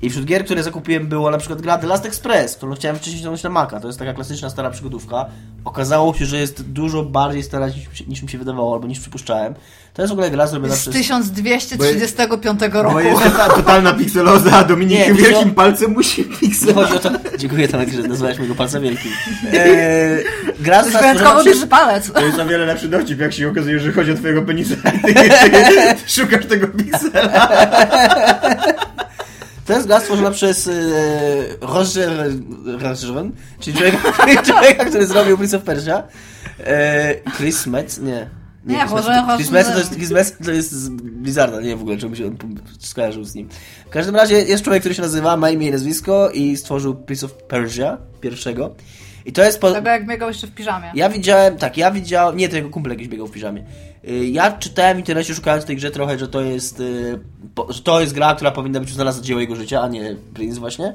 I wśród gier, które zakupiłem, było na przykład gra The Last Express, którą chciałem wcześniej ściągnąć na Maca. To jest taka klasyczna, stara przygodówka. Okazało się, że jest dużo bardziej stara niż, niż mi się wydawało, albo niż przypuszczałem. To jest w ogóle gra zrobiona
Z
przez...
1235
Bo
roku.
jest ta totalna pikseloza, a Dominik
Nie,
wielkim
wzią-
palcem musi
Nie
pikselować.
chodzi o to... Dziękuję Tomek, że nazwałeś mojego palca wielkim. Eee, gra została stworzona
Wyjątkowo
przez...
duży palec.
To jest o wiele lepszy dowcip, jak się okazuje, [laughs] że chodzi o twojego penisa. Ty, szukasz tego piksela.
To jest gra stworzona przez e, Roger Rajon, czyli człowieka, [laughs] który- człowieka, który zrobił Prince of Persia. E, Chris Metz? Nie.
Nie,
Chris
Roger
Metz-
Rajon.
Chris Metz to jest, Chris Metz to jest z Blizzarda, nie wiem w ogóle, czemu się on skojarzył z nim. W każdym razie jest człowiek, który się nazywa, ma imię i nazwisko i stworzył Prince of Persia pierwszego. I to jest... Po...
Tego jak biegał jeszcze w piżamie.
Ja widziałem, tak, ja widziałem, nie, to jego kumple jakiś biegał w piżamie. Y, Ja czytałem w internecie, szukając tej grze trochę, że to jest, y, po- że to jest gra, która powinna być uznana za dzieło jego życia, a nie Prince właśnie.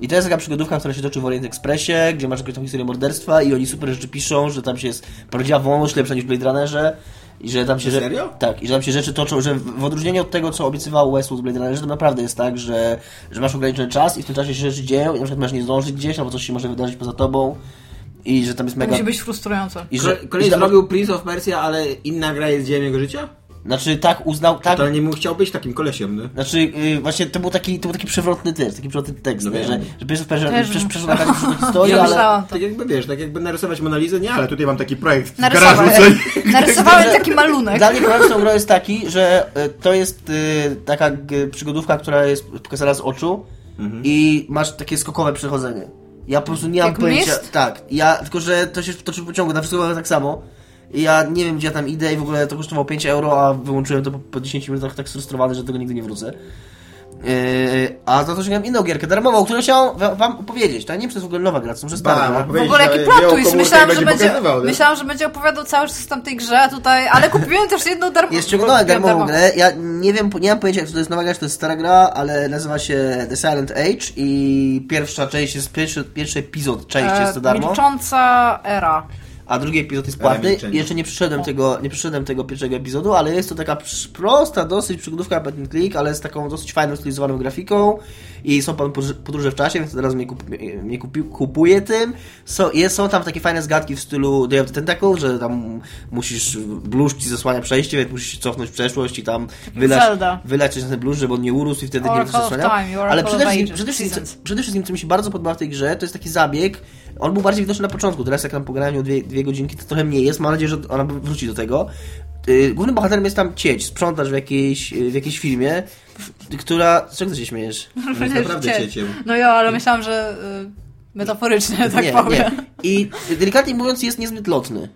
I to jest taka przygodówka, która się toczy w Orient Expressie, gdzie masz jakąś tam historię morderstwa i oni super rzeczy piszą, że tam się jest prawdziwa wolność lepsza niż w Blade Runnerze. I że tam się że-
Serio?
Tak, i że tam się rzeczy toczą, że w w odróżnieniu od tego, co obiecywał Westwood z Blade Runnerze, to naprawdę jest tak, że, że masz ograniczony czas i w tym czasie się rzeczy dzieją i na przykład masz nie zdążyć gdzieś, albo coś się może wydarzyć poza tobą. I że tam jest
To
mega...
musi być frustrujące.
I że,
Kolej
i że,
zrobił Prince of Persia, ale inna gra jest dziełem jego życia?
Znaczy tak uznał, tak.
To nie mógł chciał być takim kolesiem, no.
Znaczy yy, właśnie to był taki, to był taki przewrotny tekst, taki przewrotny tekst,
No
nie?
wiem.
że, że pierwszy perze,
Też
przecież
bym
przeszła taka historia,
Ja
ale...
myślałam to.
Tak jakby wiesz, tak jakby narysować Monalizę, nie, ale tutaj mam taki projekt w garażu, co
Narysowałem, narysowałem taki malunek.
Dla mnie problem z tą grą jest taki, że y, to jest y, taka g- przygodówka, która jest pokazana z oczu i masz takie skokowe przechodzenie. Ja po prostu nie mam
Jak
pojęcia.
mist?
Tak, ja tylko że to się toczy w pociągu, na wszystko było tak samo. I ja nie wiem gdzie ja tam idę i w ogóle to kosztowało 5 euro, a wyłączyłem to po, po 10 minutach tak sfrustrowany, że do tego nigdy nie wrócę. Yy, a za to ściągnąłem inną gierkę darmową, którą chciałem wa- wam opowiedzieć. To ja nie wiem, czy to jest w ogóle nowa gra, to są
Ba,
stara gra.
W
opowiedz-
ogóle jaki
Wyjął
plot
komórkę
twist.
i
Myślałam,
będzie
że będzie,
pokazywał, nie?
myślałam, że będzie opowiadał cały system tej grze, a tutaj, ale kupiłem też jedną darmową.
Ja ściągnąłem
kupiłam
darmową grę, ja nie wiem, nie mam pojęcia, czy to jest nowa gra, czy to jest stara gra, ale nazywa się The Silent Age i pierwsza część jest, pierwszy, pierwszy epizod części jest to
E,
darmo,
Milcząca era.
a drugi epizod jest
Era
płatny
milczenia.
i jeszcze nie przyszedłem tego, nie przyszedłem tego pierwszego epizodu, ale jest to taka przy- prosta, dosyć przygodówka Button Click, ale z taką dosyć fajną, stylizowaną grafiką i są pan podróż- podróże w czasie, więc teraz mnie, kup, mnie- mnie kupi, kupuje tym. So, jest, są tam takie fajne zgadki w stylu Day of the Tentacle, że tam musisz, blusz ci zasłania przejście, więc musisz się cofnąć w przeszłość i tam wylać,
Zelda.
wylać coś na ten blusz, żeby on nie urósł i wtedy nie
Oracle
będzie
of
zasłaniał.
Time, Oracle
Ale
of
przede wszystkim,
Ages,
przede, wszystkim,
Seasons.
przede wszystkim, co mi się bardzo podoba w tej grze, to jest taki zabieg. On był bardziej widoczny na początku, teraz jak tam pograłem ją dwie, dwie godzinki, to trochę mniej jest. Mam nadzieję, że ona wróci do tego. Yy, Głównym bohaterem jest tam cieć, sprzątasz w jakiejś, yy, w jakiejś filmie, w- która... Z czego ty
[laughs]
się śmiejesz?
To jest naprawdę cieciem.
No ja, ale myślałam, że y, metaforycznie [laughs] tak
nie,
powiem.
nie. I delikatnie mówiąc jest niezbyt lotny.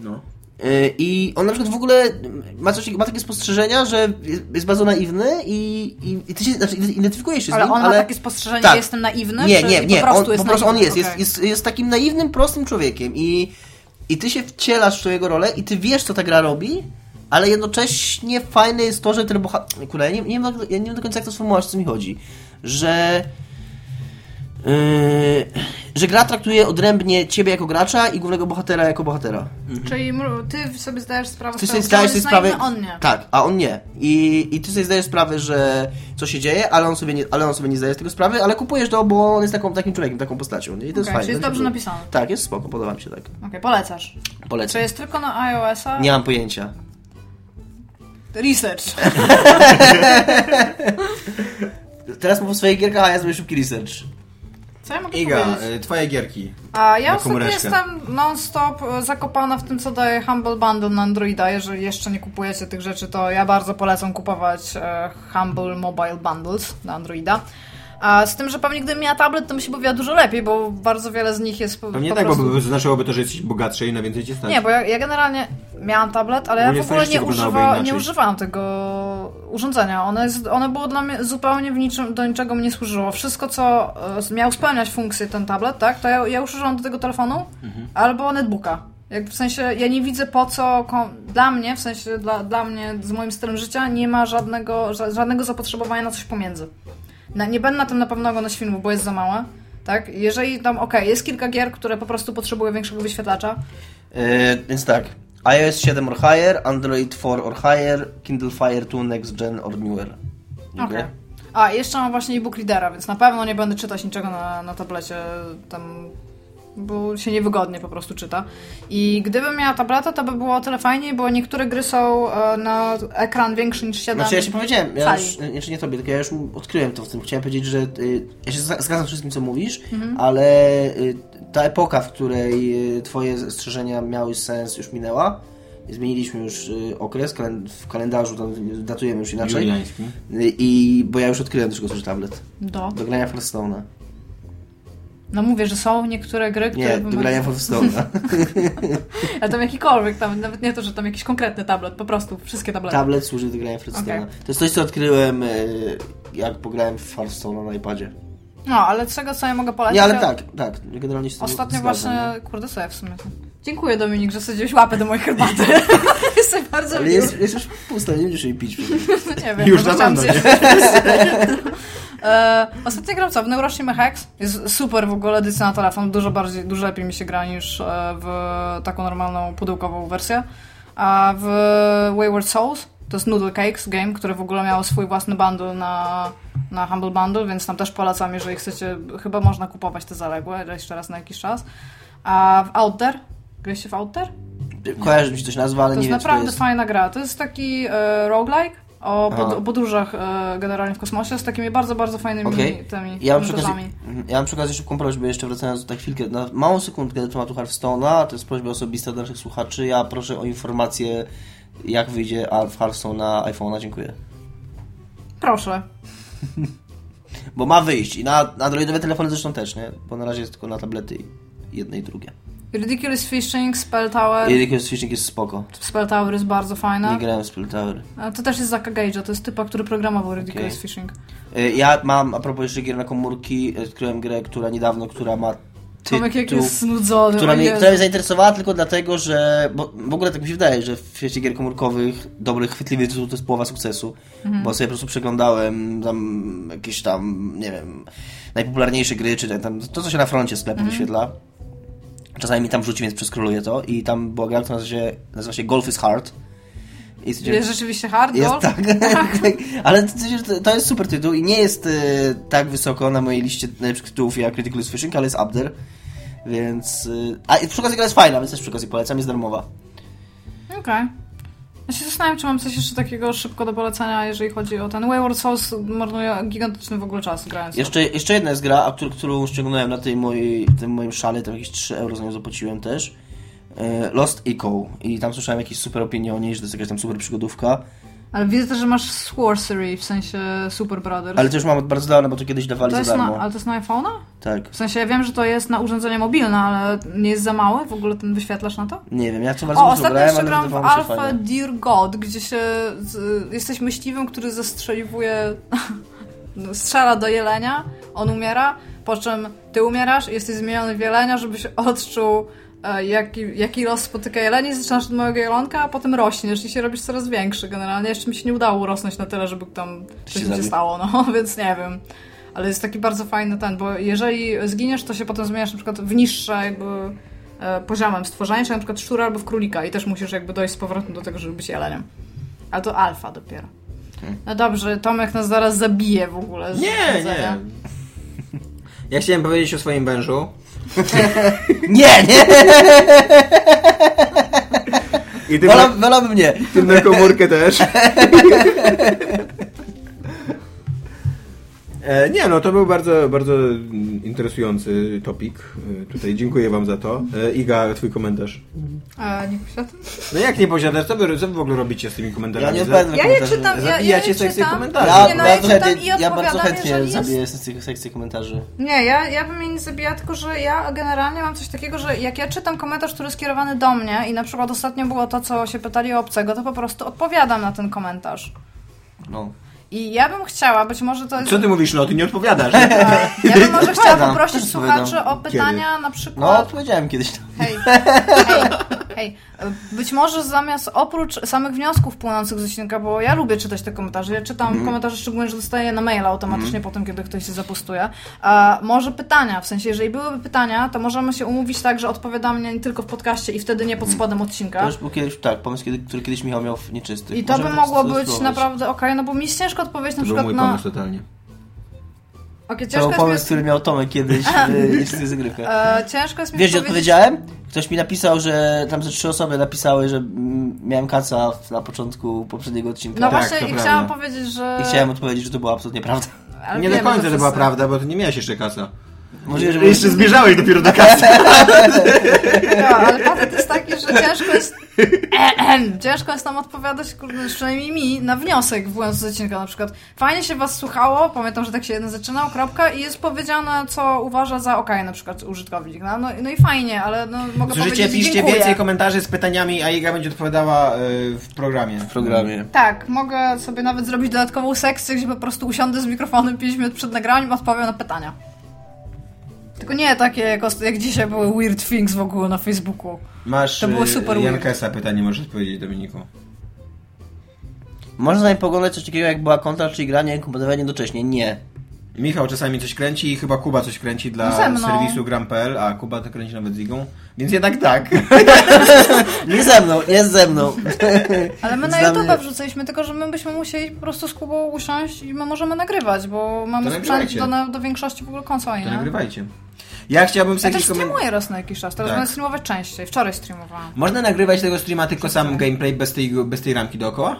No.
Yy, I on na przykład w ogóle ma, coś, ma takie spostrzeżenia, że jest- jest bardzo naiwny i, i, i ty się znaczy, identyfikujesz się z
Ale
nim,
on
ale...
ma takie spostrzeżenie,
tak.
że jestem naiwny?
Nie,
czy
nie, nie,
Po prostu
on,
jest
po prostu on
naiwny?
jest, jest,
Okej.
jest, jest takim naiwnym, prostym człowiekiem i, i ty się wcielasz w jego rolę i ty wiesz, co ta gra robi, ale jednocześnie fajne jest to, że ten bohater... Kurde, ja nie, nie, wiem, jak- ja nie wiem do końca, jak to sformułować, o co mi chodzi, że... Yy, że gra traktuje odrębnie ciebie jako gracza i głównego bohatera jako bohatera.
Mhm. Czyli mru- ty sobie zdajesz sprawę
Ty
z
sobie
tego,
zdajesz
że
sobie
jest
sprawę.
naiwny, on nie.
Tak, a on nie. I, I ty sobie zdajesz sprawę, że co się dzieje, ale on sobie nie, ale on sobie nie zdaje z tego sprawy, ale kupujesz to, bo on jest taką, takim człowiekiem, taką postacią. Nie? I to jest
Okej,
fajne.
czyli jest
To mi się
dobrze
podoba.
napisane.
Tak, jest spoko, podoba mi się tak.
Okej, polecasz. Czy
Polecam.
jest tylko na iOS-a?
Nie mam pojęcia.
Research.
Teraz mówię o swoich gierkach, a ja zrobię szybki research.
Co ja mogę
Iga,
powiedzieć?
e,
y, twoje gierki.
A ja
na
ostatnio
komóreczkę.
jestem non-stop e, zakopana w tym, co daje Humble Bundle na Androida. Jeżeli jeszcze nie kupujecie tych rzeczy, to ja bardzo polecam kupować e, Humble Mobile Bundles na Androida. A z tym, że pewnie gdybym miała tablet, to mi się powiła dużo lepiej, bo bardzo wiele z nich jest po,
Pewnie
po
tak,
prostu...
bo znaczyłoby to, że jesteś bogatszy i na więcej cię stać.
Nie, bo ja, ja generalnie miałam tablet, ale ja
tak. Ogólnie
w ogóle nie,
statystyki wyglądałyby
używa,
inaczej.
nie używałam tego urządzenia. Ono, jest, ono było dla mnie zupełnie w niczym, do niczego mi nie służyło. Wszystko, co e, miał spełniać funkcję ten tablet, tak, to ja, ja już używam do tego telefonu
Mhm.
albo netbooka. Jak, w sensie, ja nie widzę po co, ko- dla mnie, w sensie dla, dla mnie z moim stylem życia nie ma żadnego, ża- żadnego zapotrzebowania na coś pomiędzy. Na, nie będę na tym na pewno oglądać filmu, bo jest za małe. Tak, jeżeli tam, okej, jest kilka gier, które po prostu potrzebują większego wyświetlacza,
Yy, więc tak. iOS 7 or higher, Android 4 or higher, Kindle Fire 2 next gen or newer. Dziękuję.
Okej. A, jeszcze mam właśnie e-book readera, więc na pewno nie będę czytać niczego na, na tablecie tam, bo się niewygodnie po prostu czyta. I gdybym miała tableta, to by było o tyle fajniej, bo niektóre gry są e, na ekran większy niż 7.
Znaczy ja się powiedziałem, ja
Cali.
już, znaczy nie tobie, tylko ja już odkryłem to w tym. Chciałem powiedzieć, że y, ja się zga- zgadzam z wszystkim, co mówisz,
Mhm.
ale y, ta epoka, w której y, twoje zastrzeżenia miały sens, już minęła. Zmieniliśmy już y, okres, kalen- w kalendarzu tam datujemy już inaczej.
Juliański.
Y, I bo ja już odkryłem do czego służy tablet.
Do.
Do grania Hearthstone'a.
No mówię, że są niektóre gry, które...
Nie, do
wymagają- [laughs]
grania Hearthstone'a.
Ale tam jakikolwiek, tam, nawet nie to, że tam jakiś konkretny tablet, po prostu wszystkie tablety.
Tablet służy do grania Hearthstone'a.
Okej.
To jest coś, co odkryłem, y, jak pograłem w Hearthstone'a na iPadzie.
No, ale z tego co ja mogę polecić...
Nie, ale
to-
tak, tak. Generalnie się z tym
Ostatnio
zgadzam,
właśnie,
no.
kurde, co ja w sumie... Dziękuję Dominik, że sadziłeś łapę do mojej
[laughs]
herbaty. Jesteś bardzo
Ale
miły.
jest, jest już pusta, nie będziesz jej pić.
[laughs] No nie wiem,
Już
może
na
chciałam
pewno,
zjeść. [laughs] E, Ostatnio gram co? W Neurocznie Mehex. Jest super w ogóle edycja na telefon. Dużo bardziej, dużo lepiej mi się gra niż e, w taką normalną pudełkową wersję. A w Wayward Souls to jest Noodle Cakes game, które w ogóle miało swój własny bundle na, na Humble Bundle, więc tam też polecam, jeżeli chcecie, chyba można kupować te zaległe jeszcze raz na jakiś czas. A w Outer? Graliście w Outer?
Kojarzy mi się coś nazwa, ale
To
nie
jest
wiem,
naprawdę
czy to jest.
fajna gra. To jest taki e, roguelike o pod,
Aha.
o podróżach e, generalnie w kosmosie z takimi bardzo, bardzo fajnymi
Okej.
tymi
Ja mam, przy okazji,
rzeczami.
mhm, ja mam przy okazji szybką prośbę, jeszcze wracając na chwilkę, na małą sekundkę do tematu Hearthstone'a, to jest prośba osobista do naszych słuchaczy, ja proszę o informację, jak wyjdzie Alf Hearthstone na iPhone'a, dziękuję.
Proszę.
Bo ma wyjść i na, na androidowe telefony zresztą też, nie? Bo na razie jest tylko na tablety i jedne i drugie.
Ridiculous Fishing, Spell Tower.
I Ridiculous Fishing jest spoko.
Spell Tower jest bardzo
Nie
fajna.
grałem w Spell Tower.
A To też jest Zaka Gage'a, to jest typa, który programował Ridiculous
Okej.
Fishing.
Y, Ja mam, a propos jeszcze gier na komórki, e, odkryłem grę, która niedawno, która ma
Tomek jak
tytuł,
jest znudzony.
która,
o
mnie,
Jezu.
która mnie zainteresowała tylko dlatego, że bo w ogóle tak mi się wydaje, że w świecie gier komórkowych dobry, chwytliwy tytuł to jest połowa sukcesu, bo sobie po prostu przeglądałem tam jakieś tam, nie wiem, najpopularniejsze gry, czy tam to, co się na froncie sklepu wyświetla. Czasami mi tam wrzuci, więc przeskroluję to i tam była gra, która nazywa się, nazywa się Golf is Hard. I
Jest rzeczywiście hard
jest
golf. [laughs]
tak, [laughs] tak. Ale to, to- to jest super tytuł i nie jest e, tak wysoko na mojej liście najlepszych tytułów jak Critical Fishing, ale jest up there. Więc. e, a i przy okazji gra jest fajna, więc też przy okazji polecam, jest darmowa.
Okej. Ja się zastanawiam, czy mam coś jeszcze takiego szybko do polecenia, jeżeli chodzi o ten Wayward Souls. Marnuje gigantyczny w ogóle czas grając.
Jeszcze, jeszcze jedna jest gra, a którą, którą ściągnąłem na tej mojej, tym moim szale, tam jakieś 3 euro za nią zapłaciłem też. E, Lost Echo. I tam słyszałem jakieś super opinie o niej, że to jest jakaś tam super przygodówka.
Ale widzę też, że masz Sorcery, w sensie Super Brothers.
Ale to już mam od bardzo dawna, bo to kiedyś dawali
to jest
za darmo.
na, ale to jest na iPhone'a?
Tak.
W sensie ja wiem, że to jest na urządzenie mobilne, ale nie jest za mały? W ogóle ten wyświetlasz na to?
Nie wiem, ja co bardzo
O,
dużo
ostatnio
grałem,
jeszcze
ale
grałam w
wydawało mi się fajne.
Alpha Dear God, gdzie się z, jesteś myśliwym, który zastrzeliwuje, no, strzela do jelenia, on umiera, po czym ty umierasz i jesteś zmieniony w jelenia, żebyś odczuł e, jaki, jaki los spotyka jelenie, zaczynasz od małego jelonka, a potem rośniesz i się robisz coraz większy generalnie. Jeszcze mi się nie udało urosnąć na tyle, żeby tam
się
coś mi się
zabił.
stało, no, [laughs] więc nie wiem. Ale jest taki bardzo fajny ten, bo jeżeli zginiesz, to się potem zmieniasz na przykład w niższe jakby e, poziomem stworzenia, czy na przykład szczura albo w królika i też musisz jakby dojść z powrotem do tego, żeby być jeleniem. Ale to alfa dopiero.
Hmm.
No dobrze, Tomek nas zaraz zabije w ogóle. z
Nie,
siedzenia.
nie. Ja chciałem powiedzieć o swoim
[laughs]
mężu.
Nie, nie!
I tym,
Wola, wolałbym nie.
tym na komórkę też. [laughs] E, Nie, no to był bardzo, bardzo mm, interesujący topik. E, Tutaj dziękuję Wam za to. E, Iga, Twój komentarz.
E, nie myślę o tym?
No jak nie posiadasz, co wy, co wy w ogóle robicie z tymi
Ja
komentarzami?
nie
Za-
odpowiadam na
Ja je
komentarze.
czytam, ja, ja
Zabijacie
je
sekcję
czytam.
komentarzy.
Ja,
Nie, no,
bardzo
ja czytam i
chętnie, ja bardzo
odpowiadam,
chętnie
jeżeli
zabiję sekcję, sekcję komentarzy.
Nie, ja, ja bym jej nie zabijała, tylko że ja generalnie mam coś takiego, że jak ja czytam komentarz, który jest skierowany do mnie i na przykład ostatnio było to, co się pytali o obcego, to po prostu odpowiadam na ten komentarz.
No.
I ja bym chciała, być może to jest...
Co ty mówisz, no ty nie odpowiadasz. [laughs]
Ja bym może chciała
Odpowiadam,
poprosić
też odpowiadam.
słuchaczy o pytania na
No,
przykład...
odpowiedziałem kiedyś tam.
Hej, hej, hej. Być może zamiast oprócz samych wniosków płynących z odcinka, bo ja lubię czytać te komentarze, ja czytam
Mhm.
komentarze szczególnie, że dostaję na maila automatycznie po tym, kiedy ktoś się zapostuje. A może pytania, w sensie, jeżeli byłyby pytania, to możemy się umówić tak, że odpowiadam nie tylko w podcaście i wtedy nie pod
Mhm.
spodem
To
odcinka.
już był kiedyś, tak, pomysł, kiedy, który kiedyś Michał miał w nieczystych.
I to by
Możemy
mogło
to
być
spróbować.
naprawdę okej, no bo mi jest ciężko odpowiedzieć na
tak To był
przykład
mój
na...
pomysł totalnie.
Okej,
To
ciężko
był
jest mi-
pomysł, który miał Tomek
[laughs]
kiedyś e, w nieczystych zagrywkach.
e, Ciężko jest mi
Wiesz, że
odpowiedzieć-
odpowiedziałem? Ktoś mi napisał, że tam ze trzy osoby napisały, że mm, miałem kaca w- na początku poprzedniego odcinka.
No tak.
Tak,
właśnie,
to
i
prawda.
chciałam powiedzieć, że... [laughs]
I chciałem odpowiedzieć, że to była absolutnie prawda.
Ale
nie do
wiemy,
końca to była
wszyscy-
prawda, bo ty nie miałeś jeszcze kasa.
Możliwe, że
Jeszcze zbierzałeś dopiero do kasy.
No, ale patent jest taki, że ciężko jest. [clears throat] Ehem, ciężko jest nam odpowiadać, kurde, przynajmniej mi, na wniosek włącz z odcinka na przykład. Fajnie się was słuchało, pamiętam, że tak się jeden zaczynał, kropka, i jest powiedziane, co uważa za okej, na przykład użytkownik. No, no, no i fajnie, ale no, mogę
Zużycie,
powiedzieć
piszcie
dziękuję.
więcej komentarzy z pytaniami, a Iga będzie odpowiadała y, w programie.
w programie.
Tak, mogę sobie nawet zrobić dodatkową sekcję, gdzie po prostu usiądę z mikrofonem 5 minut przed nagraniem, odpowiem na pytania. Tylko nie takie jak, ost- jak dzisiaj były Weird Things w ogóle na Facebooku.
Masz
To było
y,
super
Jankesa pytanie, możesz odpowiedzieć Dominiku.
Można im poglądać coś takiego jak była kontra, czyli granie i komponowanie jednocześnie. Nie.
Michał czasami coś kręci i chyba Kuba coś kręci dla
No Ze mną.
serwisu gram.pl, a Kuba to kręci nawet z Igą, więc jednak
[laughs]
tak.
Nie ze mną, nie ze mną.
Ale my na
Znamy-
YouTube wrzuciliśmy, tylko że my byśmy musieli po prostu z Kubą usiąść i my możemy nagrywać, bo mamy
To
sprzęt
nagrywajcie.
do, na- do większości w ogóle konsoli,
To
nie?
nagrywajcie. Ja chciałbym
Ja
sobie
też
jakiś koment-
streamuję raz na jakiś czas, teraz
Tak.
będę streamować częściej. Wczoraj streamowałam.
Można nagrywać tego streama tylko sam gameplay bez tej, bez tej ramki dookoła?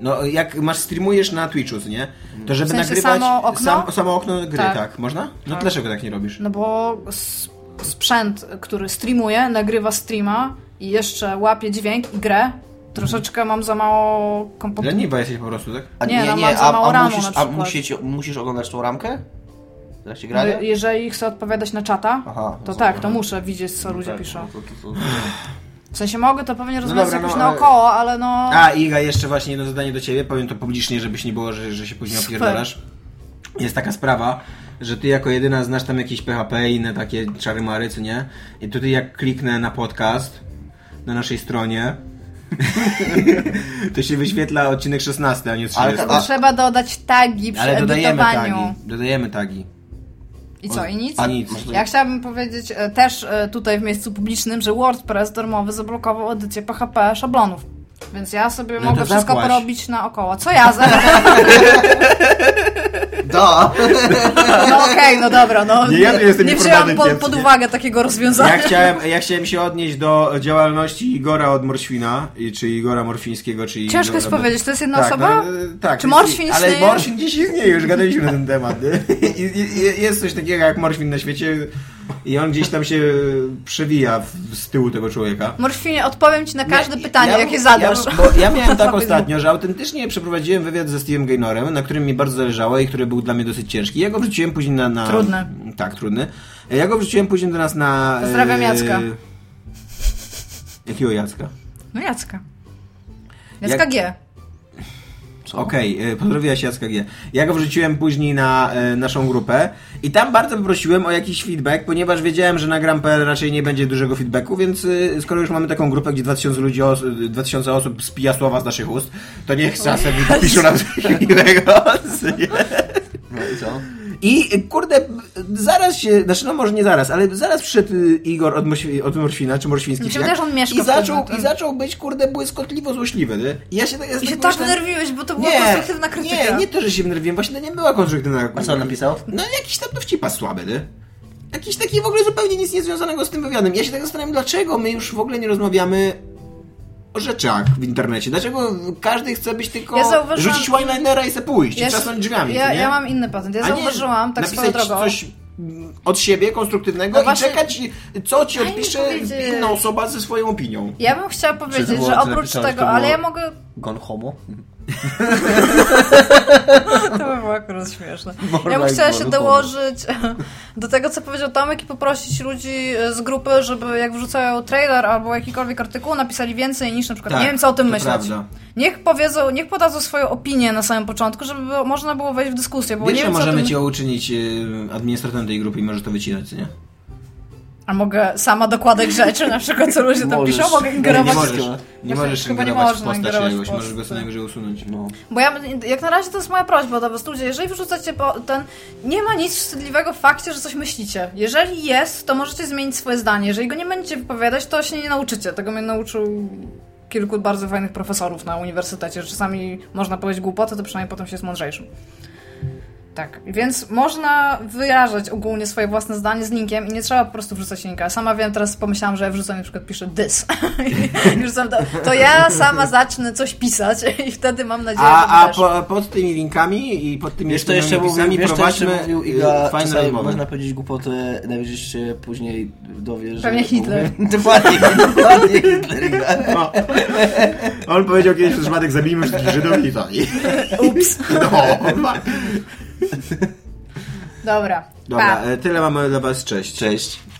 No, jak masz streamujesz na Twitchu, nie? To żeby
W sensie
nagrywać
samo okno?
Sam, samo okno gry,
Tak.
tak. Można? No dlaczego tak nie robisz?
No bo s- sprzęt, który streamuje, nagrywa streama i jeszcze łapie dźwięk i grę, troszeczkę mam za mało komputerów.
Leniwa jesteś po prostu, tak?
A
Nie, no, mam za mało
a, a,
ramu
musisz,
na
a
przykład.
musisz, musisz oglądać tą ramkę? W trakcie grania?
No, Jeżeli chcę odpowiadać na czata,
Aha,
to
no
tak,
dobra.
to muszę widzieć,
No
co
tak,
ludzie piszą.
To, to, to,
W sensie mogę to pewnie rozwiązać
dobra,
jakoś
no, ale-
naokoło, ale no...
A, Iga, jeszcze właśnie jedno zadanie do ciebie, powiem to publicznie, żebyś nie było, że, że się później
Super.
opierdolasz. Jest taka sprawa, że ty jako jedyna znasz tam jakieś PHP i inne takie czary mary, co nie? I tutaj jak kliknę na podcast na naszej stronie, [laughs] to się wyświetla odcinek 16, a nie 30.
Ale
To
a-
trzeba dodać tagi przy
Ale dodajemy
edytowaniu.
tagi. Dodajemy tagi.
I co, i nic?
A nic.
Ja chciałabym powiedzieć e, też e, tutaj w miejscu publicznym, że WordPress darmowy zablokował edycję PHP szablonów. Więc ja sobie
No
mogę
to
wszystko
zapłać.
porobić naokoło. Co ja za... [laughs]
Da!
No okej, no dobra, no
Nie, ja tu jestem
nie wzięłam
nieformalnym
pod,
piewcem,
pod
nie?
uwagę takiego rozwiązania.
Ja chciałem, ja chciałem się odnieść do działalności Igora od Morświna, i- czy Igora Morfińskiego, czy
Ciężko
Igora...
jest powiedzieć, to jest jedna
tak,
osoba?
No, e, tak.
Czy Morświn
Ale
istnieje?
Morświn dziś istnieje, już gadaliśmy na ten temat. [laughs] nie? I, i, i- jest coś takiego jak Morświn na świecie i on gdzieś tam się przewija w, z tyłu tego człowieka.
Morfinie, odpowiem Ci na każde
Nie,
pytanie,
ja-
jakie zadasz.
Ja,
[laughs]
bo ja miałem tak
Na
ostatnio, że autentycznie przeprowadziłem wywiad ze Steve'em Gaynorem, na którym mi bardzo zależało i który był dla mnie dosyć ciężki. Ja go wrzuciłem później na... na
Trudny.
Tak, trudny. Ja go wrzuciłem później do nas na... e,
Pozdrawiam Jacka.
Jakiego Jacka?
No Jacka. Jacka
Jak-
G.
Okej, okay, pozdrowiłaś Jacka G. Ja go wrzuciłem później na e, naszą grupę i tam bardzo poprosiłem o jakiś feedback, ponieważ wiedziałem, że na gram.pl raczej nie będzie dużego feedbacku, więc e, skoro już mamy taką grupę, gdzie 2000, ludzi os- 2000 osób spija słowa z naszych ust, to niech czasem
[laughs]
piszą nam coś innego.
No i co?
I e, kurde, zaraz się, znaczy no może nie zaraz, ale zaraz przyszedł e, Igor od, Morświ, od Morświna, czy Morświński
Mi się
Wsiak
wydaje, że on mieszka
i
w tym-
zaczął,
tym-
i zaczął być kurde błyskotliwo złośliwy, nie? I ja się, ja
I się tak
pomyślałem-
denerwiłeś, bo to była konstruktywna krytyka.
nie, nie to, że się nerwiłem, właśnie to nie była konstruktywna krytyka.
A co on napisał?
No jakiś tam dowcipa słaby, ty. Jakiś taki w ogóle zupełnie nic niezwiązanego z tym wywiadem. Ja się tak zastanawiam, dlaczego my już w ogóle nie rozmawiamy o rzeczach w internecie. Dlaczego każdy chce być tylko...
Ja zauważyłam-
Rzucić one-linera i se pójść,
Ja-
i czasnąć drzwiami,
ja,
nie?
ja mam inny patent. Ja
A nie
zauważyłam, tak swoją
napisać
drogą.
coś mm, od siebie konstruktywnego
No
i
właśnie-
czekać, co ci
Fajnie
odpisze
powiedzieć.
inna osoba ze swoją opinią.
Ja bym chciała
Czy to
powiedzieć,
było,
że
co
oprócz
napisałeś,
tego,
to
ale
było-
ja mogę.
Gon homo?
[laughs] To by było akurat śmieszne.
More
Ja bym
like
chciała się
Gon
dołożyć do tego, co powiedział Tomek i poprosić ludzi z grupy, żeby jak wrzucają trailer albo jakikolwiek artykuł, napisali więcej niż na przykład
Tak,
nie wiem, co o tym
to
myśleć.
prawda.
Niech powiedzą, niech podadzą swoją opinię na samym początku, żeby było, można było wejść w dyskusję, bo
Wiesz,
nie
że
wiem, co o
możemy
tym...
cię uczynić y, administratorem tej grupy i możesz to wycinać, co nie?
A mogę sama dokładać rzeczy, na przykład co ludzie tam
Możesz.
piszą, mogę
Nie,
Nie, nie
ingerować.
możesz,
Właśnie
nie możesz
chyba nie
ingerować w
można
postać
ingerować w
jakąś, możesz go
postać.
co najwyżej usunąć. No.
Bo ja, jak na razie to jest moja prośba do was, ludzie, jeżeli wrzucacie po ten, nie ma nic wstydliwego w fakcie, że coś myślicie. Jeżeli jest, to możecie zmienić swoje zdanie. Jeżeli go nie będziecie wypowiadać, to się nie nauczycie. Tego mnie nauczył kilku bardzo fajnych profesorów na uniwersytecie, że czasami można powiedzieć głupotę, to przynajmniej potem się jest mądrzejszym. Tak, więc można wyrażać ogólnie swoje własne zdanie z linkiem i nie trzeba po prostu wrzucać linka. Sama wiem, teraz pomyślałam, że wrzucam na przykład piszę dys. [laughs] I wrzucam to, to ja sama zacznę coś pisać i wtedy mam nadzieję, że
A, a
też.
po, pod tymi linkami i pod tymi
Wiesz, to jeszcze mówił,
napisami
wiesz, to jeszcze
prowadźmy
mówił Iga,
y, fajne
czasami
rozmowy. [laughs]
można powiedzieć głupotę, najwyżej się później dowie, że...
Pewnie
[laughs]
Hitler.
dokładnie, dokładnie Hitler. Iga.
No. On powiedział kiedyś, że przypadek zabijmy wszystkich Żydów i to. I...
Ups.
No.
Dobra.
Dobra,
Pa.
e, tyle mamy dla Was. Cześć.
Cześć.